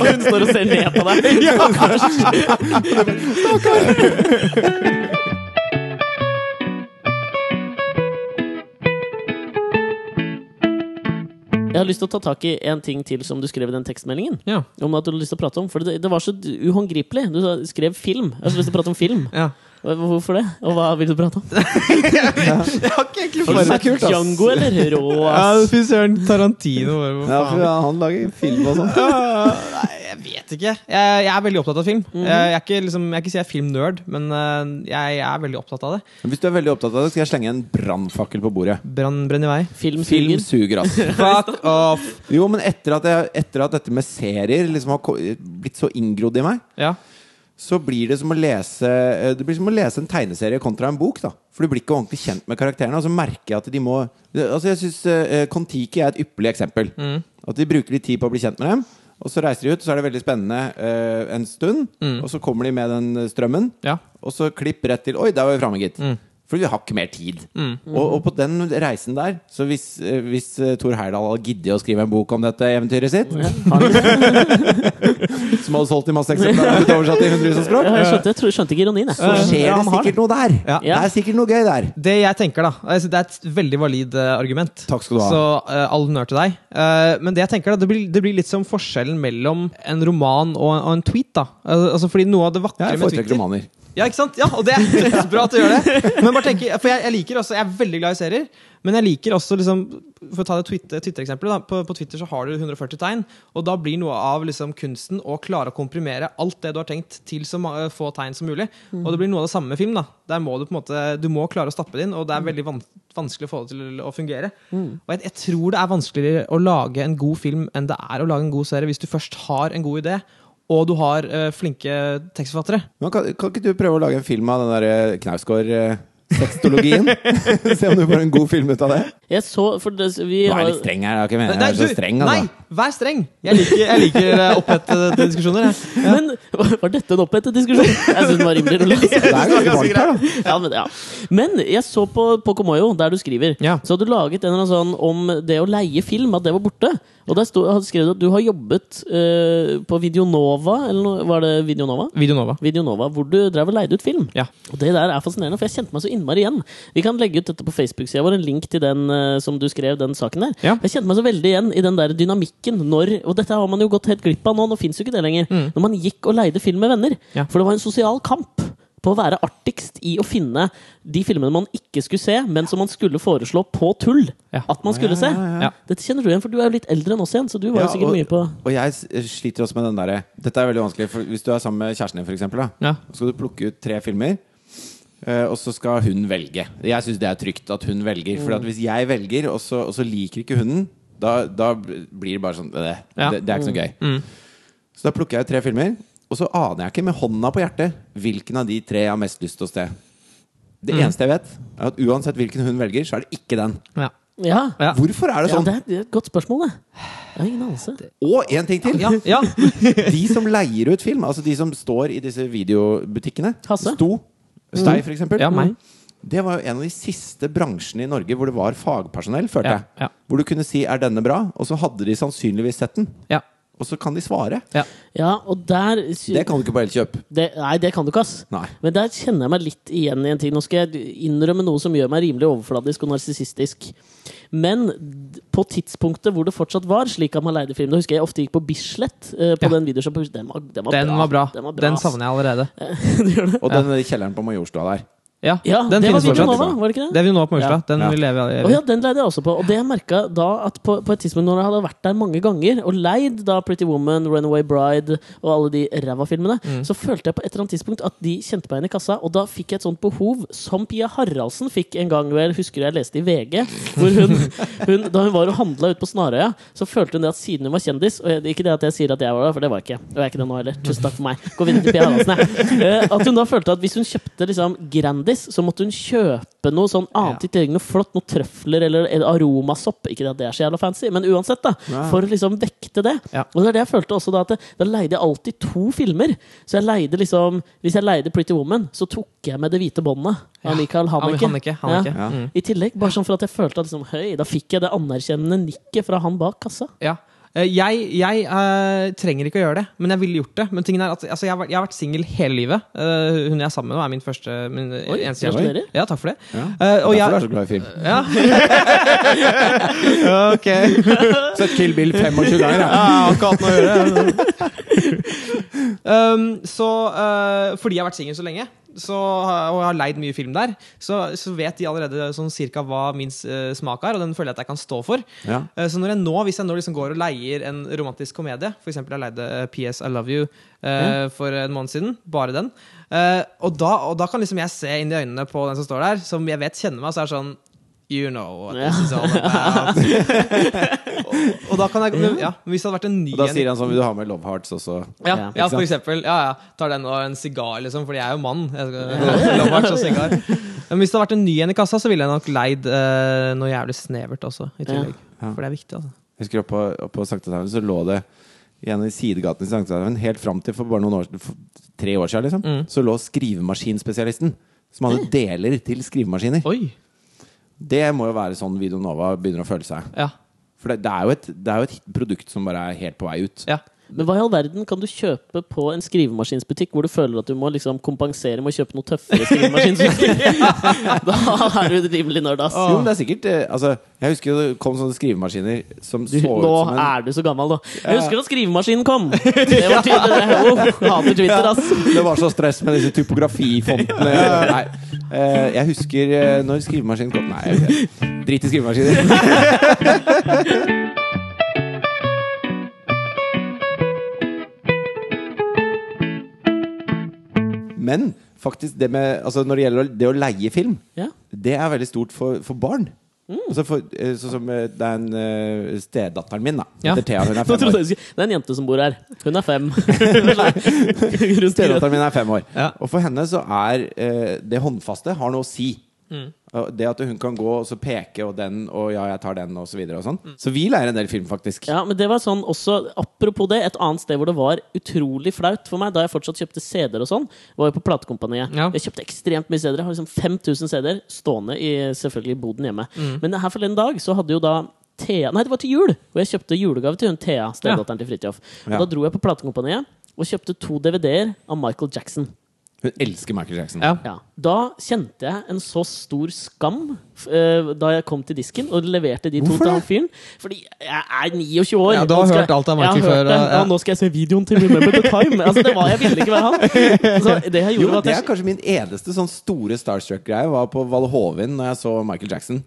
A: Hun står og ser ned på deg. <laughs> Jeg har lyst til å ta tak i en ting til som du skrev i den tekstmeldingen.
B: Ja.
A: Om at du hadde lyst til å prate om For det, det var så uhåndgripelig. Du sa- skrev film. Jeg har så lyst til å prate om film.
B: Ja.
A: Hva- Hvorfor det? Og hva vil du prate om?
B: Jeg har ikke egentlig
A: Har du sett
C: kult, ass.
A: Django eller Rå?
B: Ja,
A: ass?
B: Fy søren, Tarantino. bare, hva
C: Ja,
B: faen?
C: for han lager film og sånn. <laughs>
B: Jeg vet ikke. Jeg, jeg er veldig opptatt av film. jeg, jeg er ikke, liksom, jeg er ikke si jeg er filmnerd, men eh, jeg, jeg er veldig opptatt av det.
C: Hvis du er veldig opptatt av det, skal jeg slenge en brannfakkel på bordet.
B: Brann brenner i vei.
A: Film
C: Film
A: suger.
C: suger, ass.
B: Fuck off!
C: Jo, men etter at, jeg, etter at dette med serier liksom har ko- blitt så inngrodd i meg,
B: Ja.
C: så blir det som å lese eh, Det blir som å lese en tegneserie kontra en bok. da For du blir ikke ordentlig kjent med karakterene. Og så merker jeg at de må Altså Jeg syns Kon-Tiki er et ypperlig eksempel. At de bruker litt tid på å bli kjent med dem. Og så reiser de ut, så er det veldig spennende eh, en stund. Og så kommer de med den eh, strømmen.
B: Ja.
C: Og så klipp rett til Oi, der var vi framme, gitt.
B: Mm.
C: Fordi vi har ikke mer tid. Og, og på den reisen der, så hvis, eh, hvis eh, Thor Heyerdahl hadde giddet å skrive en bok om dette eventyret sitt, som hadde solgt i masse
B: <laughs>
C: eksempler og blitt oversatt til hundretusen språk,
A: Ja, jeg skjønte, jeg tror, skjønte ikke ironien, jeg.
C: så skjer
B: Ja,
C: det
B: han har
C: sikkert noe der.
B: Ja.
C: Det er sikkert noe gøy der.
B: Det jeg tenker da, altså, det er et veldig valid eh, argument.
C: Takk skal du ha.
B: Så eh, all honnør til deg. Eh, men det jeg tenker da, det blir, det blir litt som forskjellen mellom en roman og, og en tweet. da. Eh, altså fordi noe av det vakre
C: Jeg
B: med
C: foretrekker
B: Twitter
C: romaner.
B: Ja, ikke sant? Ja, og det er <laughs> dødsbra at du gjør det. Men bare tenker, for jeg, jeg liker også, jeg er veldig glad i serier, men jeg liker også liksom, For å ta det Twitter- Twitter-eksempelet. da, på, på Twitter så har du 140 tegn, og da blir noe av liksom, kunsten å klare å komprimere alt det du har tenkt, til så ma- eh, få tegn som mulig. Og det blir noe av det samme med film. da. Der må Du på en måte, du må klare å stappe det inn, og det er veldig van vanskelig å få det til å fungere. Og jeg, jeg tror det er vanskeligere å lage en god film enn det er å lage en god serie, hvis du først har en god idé, og du har eh, flinke tekstforfattere.
C: Men kan, kan ikke du prøve å lage en film av den der
B: <laughs>
C: Knausgård-sextologien? Se om du får en god film ut av det.
A: Jeg så, for det, vi
C: Nå er jeg
A: har,
C: litt streng her. Jeg har ikke meningen å
B: Nei,
C: være så
B: du,
C: streng. Altså.
B: Nei, vær streng! Jeg liker, jeg liker eh, opphetede diskusjoner. Jeg.
A: Men var dette en opphetet diskusjon? Jeg syns den var rimelig rolig.
C: Det er ganske varmt her, da.
A: <laughs> ja, men, ja. men jeg så på, på Komoyo, der du skriver,
B: Ja.
A: så hadde du laget en eller annen sånn om det å leie film, at det var borte. Og der sto, hadde skrevet at du har jobbet eh, på Videonova, eller noe, var det Videonova?
B: Videonova.
A: Videonova, hvor du drev og leide ut film.
B: Ja.
A: Og det der er fascinerende, for jeg kjente meg så innmari igjen. Vi kan legge ut dette på Facebook-sida vår, en link til den eh, som du skrev, den saken der.
B: Ja.
A: Jeg kjente meg så veldig igjen i den der dynamikken når Og dette har man jo gått helt glipp av nå, nå fins jo ikke det lenger. Når man gikk og leide film med venner.
B: Ja.
A: For det var en sosial kamp. På å være artigst i å finne de filmene man ikke skulle se, men som man skulle foreslå på tull
B: Ja.
A: at man skulle se.
B: ja.
A: Dette kjenner du igjen, for du er jo litt eldre enn oss igjen. Så du var
C: Ja,
A: jo sikkert
C: og,
A: mye på
C: og jeg s- sliter også med den derre Dette er veldig vanskelig. For hvis du er sammen med kjæresten din, for eksempel, da,
B: Ja.
C: så skal du plukke ut tre filmer. eh, og så skal hun velge. Jeg syns det er trygt at hun velger. For at
B: Mm.
C: hvis jeg velger, og så, og så liker ikke hunden, da, da blir det bare sånn det,
B: Ja. Mm.
C: det, det er ikke noe gøy. Så da plukker jeg ut tre filmer, og så aner jeg ikke med hånda på hjertet hvilken av de tre jeg har mest lyst til å se. Det
B: Mm.
C: eneste jeg vet, er at uansett hvilken hun velger, så er det ikke den.
B: Ja.
A: Ja,
B: Ja.
C: Hvorfor er det
A: ja
C: sånn?
A: det er det er et godt spørsmål, det. Jeg har ingen anelse.
C: Og en ting til!
B: Ja, ja.
C: De som leier ut film, altså de som står i disse videobutikkene
A: Hasse.
C: Sto. Stei, for eksempel.
B: Mm.
C: Mm.
B: Ja, meg.
C: Det var jo en av de siste bransjene i Norge hvor det var fagpersonell, følte
B: Ja,
C: jeg.
B: ja.
C: Hvor du kunne si 'er denne bra?', og så hadde de sannsynligvis sett den.
B: <laughs> ja.
C: Og så kan de svare.
A: Ja, og der
C: Det kan du ikke på Elkjøp.
A: det, Nei, det kan du ikke, ass.
C: Nei.
A: Men der kjenner jeg meg litt igjen i en ting. Nå skal jeg innrømme noe som gjør meg rimelig overfladisk og narsissistisk. Men d- på tidspunktet hvor det fortsatt var slik at man leide film Da husker jeg jeg ofte gikk på Bislett eh, på
B: Ja.
A: den videosjappa. Den, var- den, var
B: Den
A: bra.
B: var bra.
A: Den, var bra,
B: Den
A: ass.
B: savner jeg allerede.
A: Du gjør det?
C: Og den kjelleren på Majorstua der.
B: Ja,
A: Ja,
B: den
A: det var
B: finnes fortsatt.
A: Videonova, var det ikke det?
B: Det er Videonova på Murstad. Den
C: Ja.
B: vil leve
A: Å ja,
B: evig.
A: den leide jeg også på. Og det jeg merka da, at på, på et tidspunkt når jeg hadde vært der mange ganger, og leid da Pretty Woman, Runaway Bride og alle de ræva filmene, så følte jeg på et eller annet tidspunkt at de kjente meg igjen i kassa, og da fikk jeg et sånt behov som Pia Haraldsen fikk en gang, vel, husker jeg leste i VG, hvor hun, hun da hun var og handla ute på Snarøya, så følte hun det at siden hun var kjendis Og jeg, ikke det at jeg sier at jeg var der, for det var ikke jeg. Og jeg er ikke det nå heller. Tusen takk for meg. Gå videre til Pia Haraldsen, jeg. Eh, At hun da følte at hvis hun kjøpte liksom Grandis, så måtte hun kjøpe noe sånn annet i tillegg. Noe flott, noe trøfler eller en aromasopp. Ikke at det er så jævla fancy, men uansett, da. For å liksom vekte det.
B: Ja.
A: Og det er det jeg følte også da, at det, da leide jeg alltid to filmer. Så jeg leide liksom Hvis jeg leide Pretty Woman, så tok jeg med Det hvite båndet av Michael Haneke.
B: Haneke, Haneke.
A: Ja.
C: Ja.
B: Mm.
A: I tillegg, bare sånn for at jeg følte at liksom, høy, da fikk jeg det anerkjennende nikket fra han bak kassa.
B: Ja. Eh, Jeg, jeg eh, trenger ikke å gjøre det, men jeg ville gjort det. Men tingen er at altså, jeg, har vært- jeg har vært singel hele livet. Eh, hun jeg er sammen med nå, er min første min
A: Oi,
B: eneste
A: gratulerer.
B: Ja, takk for det.
C: Ja.
B: Eh, og
C: Derfor er du
B: jeg,
C: så glad i film.
B: ja. <laughs> ok.
C: Sett Kill Bill 25 ganger,
B: Ja,
C: da.
B: <laughs> jeg har ikke hatt noe å gjøre. <laughs> um, så eh, fordi jeg har vært singel så lenge, så, og jeg har leid mye film der, så, så vet de allerede sånn cirka hva min eh, smak er, og den føler jeg at jeg kan stå for.
C: Ja.
B: Eh, så når jeg nå, hvis jeg nå liksom går og leier en romantisk komedie, f.eks. jeg leide eh, PS I Love You eh, for en måned siden, bare den, eh, og, da, og da kan liksom jeg se inn i øynene på den som står der, som jeg vet kjenner meg, så er det sånn You know what
A: Ja.
B: this is all
C: <laughs>
B: about. og, og da kan jeg men, ja, men Hvis det hadde vært en ny
C: Og da
B: en
C: sier han sånn Vil du ha med Love Hearts også?
B: ja,
A: Ja,
B: ja,
C: ikke
B: for
C: sant?
B: eksempel. Ja, ja. Tar den og en sigar, liksom, fordi jeg er jo mann. Jeg <laughs> skal, Lovart og sigar. Men hvis det hadde vært en ny en i kassa, så ville jeg nok leid eh, noe jævlig snevert også. I tillegg.
C: Ja.
B: For det er viktig, altså.
C: Jeg husker oppe oppe på Sankthanshaugen så lå det i en av de sidegatene i Sankthanshaugen helt fram til for bare noen år for tre år siden, liksom,
A: Mm.
C: så lå skrivemaskinspesialisten. Som hadde deler til skrivemaskiner.
B: Oi!
C: Det må jo være sånn Video Nova begynner å føle seg.
B: Ja.
C: For det, det, er jo et, det er jo et produkt som bare er helt på vei ut.
B: ja.
A: Men hva i all verden kan du kjøpe på en skrivemaskinsbutikk hvor du føler at du må liksom kompensere med å kjøpe noe tøffere skrivemaskinsystemer? <laughs> da er du rimelig nerd, ass.
C: Jo, men det er sikkert eh, altså, Jeg husker jo det kom sånne skrivemaskiner som
A: Du,
C: så ut
A: nå
C: som en
A: er du så gammel, da. Jeg husker da skrivemaskinen kom! Det var tidligere. Oh, hater Twitter, ass.
C: Det var så stress med disse typografifontene. Nei. Eh, Jeg husker eh, når skrivemaskinen kom Nei, jeg vet ikke. drit i skrivemaskiner. Men faktisk det med, altså når det gjelder å- det å leie film,
A: Ja.
C: det er veldig stort for, for barn.
A: Mm.
C: Altså for, eh, sånn som eh, det er en eh, stedatteren min, da.
B: Ja.
C: Heter Thea, hun er
A: Nå
C: fem
A: trodde jeg
C: år.
A: du skulle- Det er en jente som bor her. Hun er
C: <laughs>
A: fem.
C: Stedatteren min er fem år.
B: Ja.
C: Og for henne så er eh, det håndfaste har noe å si.
B: Mm.
C: Og Det at hun kan gå og så peke og den og ja, jeg tar den og så videre og sånn.
B: Mm.
C: Så vi lærer en del film, faktisk.
A: Ja, men det var sånn også, Apropos det, et annet sted hvor det var utrolig flaut for meg, da jeg fortsatt kjøpte CD-er og sånn, var jo på Platekompaniet.
B: Ja.
A: Jeg kjøpte ekstremt mye CD-er. Jeg Har liksom 5000 CD-er stående i selvfølgelig boden hjemme.
C: Mm.
A: Men her forleden dag så hadde jo da Thea Nei, det var til jul! Og jeg kjøpte julegave til hun Thea, stedatteren til Fridtjof. Og
C: Ja.
A: Da dro jeg på Platekompaniet og kjøpte to DVD-er av Michael Jackson.
C: Hun elsker Michael Jackson.
B: Ja.
A: Ja. Da kjente jeg en så stor skam f- eh, da jeg kom til disken og leverte de to
C: Hvorfor
A: til
C: det?
A: han fyren. Fordi jeg er 29 år.
B: Ja, du har
A: Nå skal
B: hørt
A: jeg-
B: alt av
A: jeg har
B: Michael
A: hørt
B: før,
C: eh,
A: det.
B: og-
A: Ja, nå skal jeg se videoen til Remember the Time! Altså, det var jeg ville ikke være han. Så det jeg gjorde,
C: Jo,
A: var at
C: det er
A: jeg
C: kanskje min eneste sånn store starstruck-greie. Var på Valle Hovin når jeg så Michael Jackson.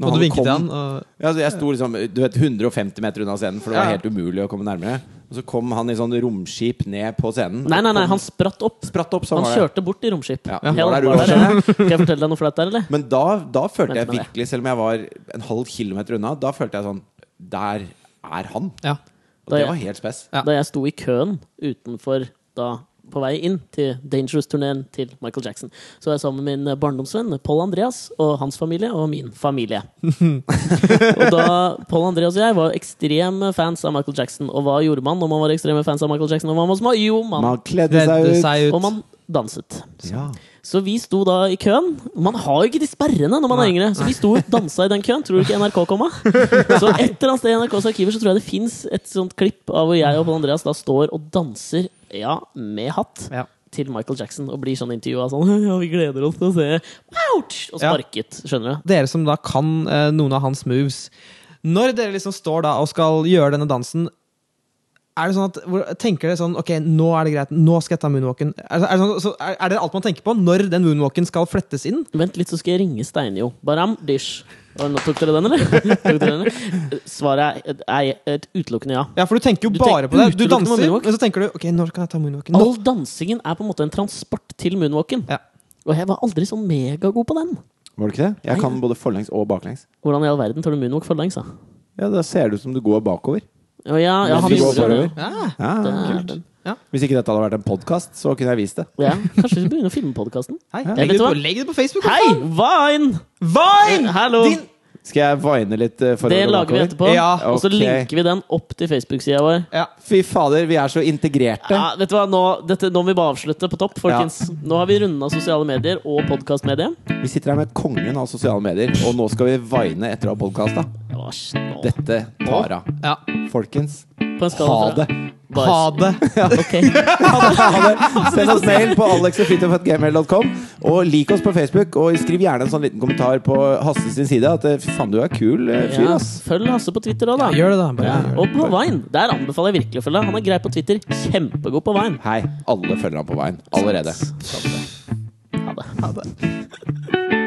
C: Når
B: Og du vinket til han.
C: kom-
B: Og,
C: Ja, altså, jeg sto liksom du vet, 150 meter unna scenen, for det var
B: Ja.
C: helt umulig å komme nærmere. Og så kom han i sånn romskip ned på scenen.
A: Nei, nei, nei, han spratt opp.
C: spratt opp,
A: Han
C: sånn var det.
A: kjørte bort i romskip.
C: Ja,
A: Helt
C: var der du
A: var
C: var,
A: der,
C: skjønner
A: ja. Skal jeg fortelle deg noe flaut der, eller?
C: Men da, da følte
A: Vent
C: jeg
A: med det.
C: virkelig, selv om jeg var en halv kilometer unna, da følte jeg sånn Der er han!
B: ja.
C: Og det
A: Da-
C: var helt spes.
B: Ja.
A: Da jeg sto i køen utenfor da på vei inn til Dangerous-turneen til Michael Jackson. Så var jeg sammen med min eh, barndomsvenn Pål Andreas og hans familie og min familie. og da Pål Andreas og jeg var ekstreme fans av Michael Jackson. Og hva gjorde man når man var ekstreme fans av Michael Jackson? Og man var små? Jo, man,
C: Man kledde seg
B: Redde
C: ut.
B: seg
A: og
B: ut.
A: man danset.
C: Ja.
A: Så vi sto da i køen. Man har jo ikke de sperrene når man er yngre. Så vi sto og dansa i den køen. Tror du ikke NRK kom av? Så et eller annet sted i NRKs arkiver så tror jeg det fins et sånt klipp av hvor jeg og Pål Andreas da står og danser, ja, med hatt.
B: Ja.
A: Til Michael Jackson og blir sånn intervjua sånn <laughs> Ja, vi gleder oss til å se Ouch! Og
B: Ja.
A: sparket. Skjønner du?
B: Dere som da kan eh, noen av hans moves. Når dere liksom står da og skal gjøre denne dansen, er det sånn at, hvor, tenker dere sånn Ok, nå er det greit. Nå skal jeg ta moonwalken. Er, det- er, det sånn, så, er, er det alt man tenker på når den moonwalken skal flettes inn?
A: Vent litt, så skal jeg ringe Steinjo. Baram dish. Og nå tok dere den, eller? <laughs> tok dere den? Svaret er, er et utelukkende ja.
B: Ja, for du tenker jo
A: Du
B: bare
A: tenker
B: på det. Du
A: utelukkende på
B: danser,
A: moonwalk.
B: men så tenker du ok, når kan jeg ta moonwalken? Nå.
A: All dansingen er på en måte en transport til moonwalken.
B: Ja.
A: Og jeg var aldri sånn megagod på den.
C: Var det ikke det? Jeg kan både forlengs og baklengs.
A: Hvordan i all verden tar du moonwalk forlengs, da?
C: Ja, Da ser det ut som du går bakover.
A: Å Ja, ja,
C: Hvis
A: han
C: du går
A: gjorde det.
C: forover.
B: Ja.
C: Ja, kult.
A: Dæven.
C: Hvis ikke dette hadde vært en podkast, så kunne jeg vist det.
A: Ja, kanskje vi skal begynne å filme
B: <laughs>
A: podkasten?
B: Hei,
A: Ja,
B: legg,
A: vet
B: det
A: du
B: på,
A: hva?
B: legg det på Facebook!
A: Hei, Vine! Eh,
B: Vine!
A: Hallo!
B: Din
C: Skal jeg vine litt eh, for
A: Det
C: å gå
A: lager vi
C: bakover?
A: etterpå.
B: Ja,
A: Og så
C: ok.
A: linker vi den opp til Facebook-sida vår.
B: ja.
C: Fy fader, vi er så integrerte.
A: Ja, vet du hva? Nå, dette, nå må vi bare avslutte på topp, folkens. Nå har vi runda sosiale medier og podkastmediet.
C: Vi sitter her med kongen av sosiale medier, og nå skal vi vine etter å ha podkasta.
A: På
C: Dette tar av.
B: ja.
C: Folkens,
A: en skala
C: ha
A: fra-
C: det.
A: Bare-
B: Ha det!
A: Ok.
B: <laughs>
C: Send oss mail på alexogfritofgmail.com. Og lik oss på Facebook, og skriv gjerne en sånn liten kommentar på Hasse sin side at eh, fy faen, du er kul eh, fyr,
A: Ja,
C: ass.
A: følg Hasse på Twitter òg, da.
B: Gjør det, da. Bare.
A: Ja, og på Vine. Der anbefaler jeg virkelig å følge. Han er grei på Twitter. Kjempegod på Vine.
C: Hei, alle følger han på veien. Allerede.
A: Ha det.
B: Ha det.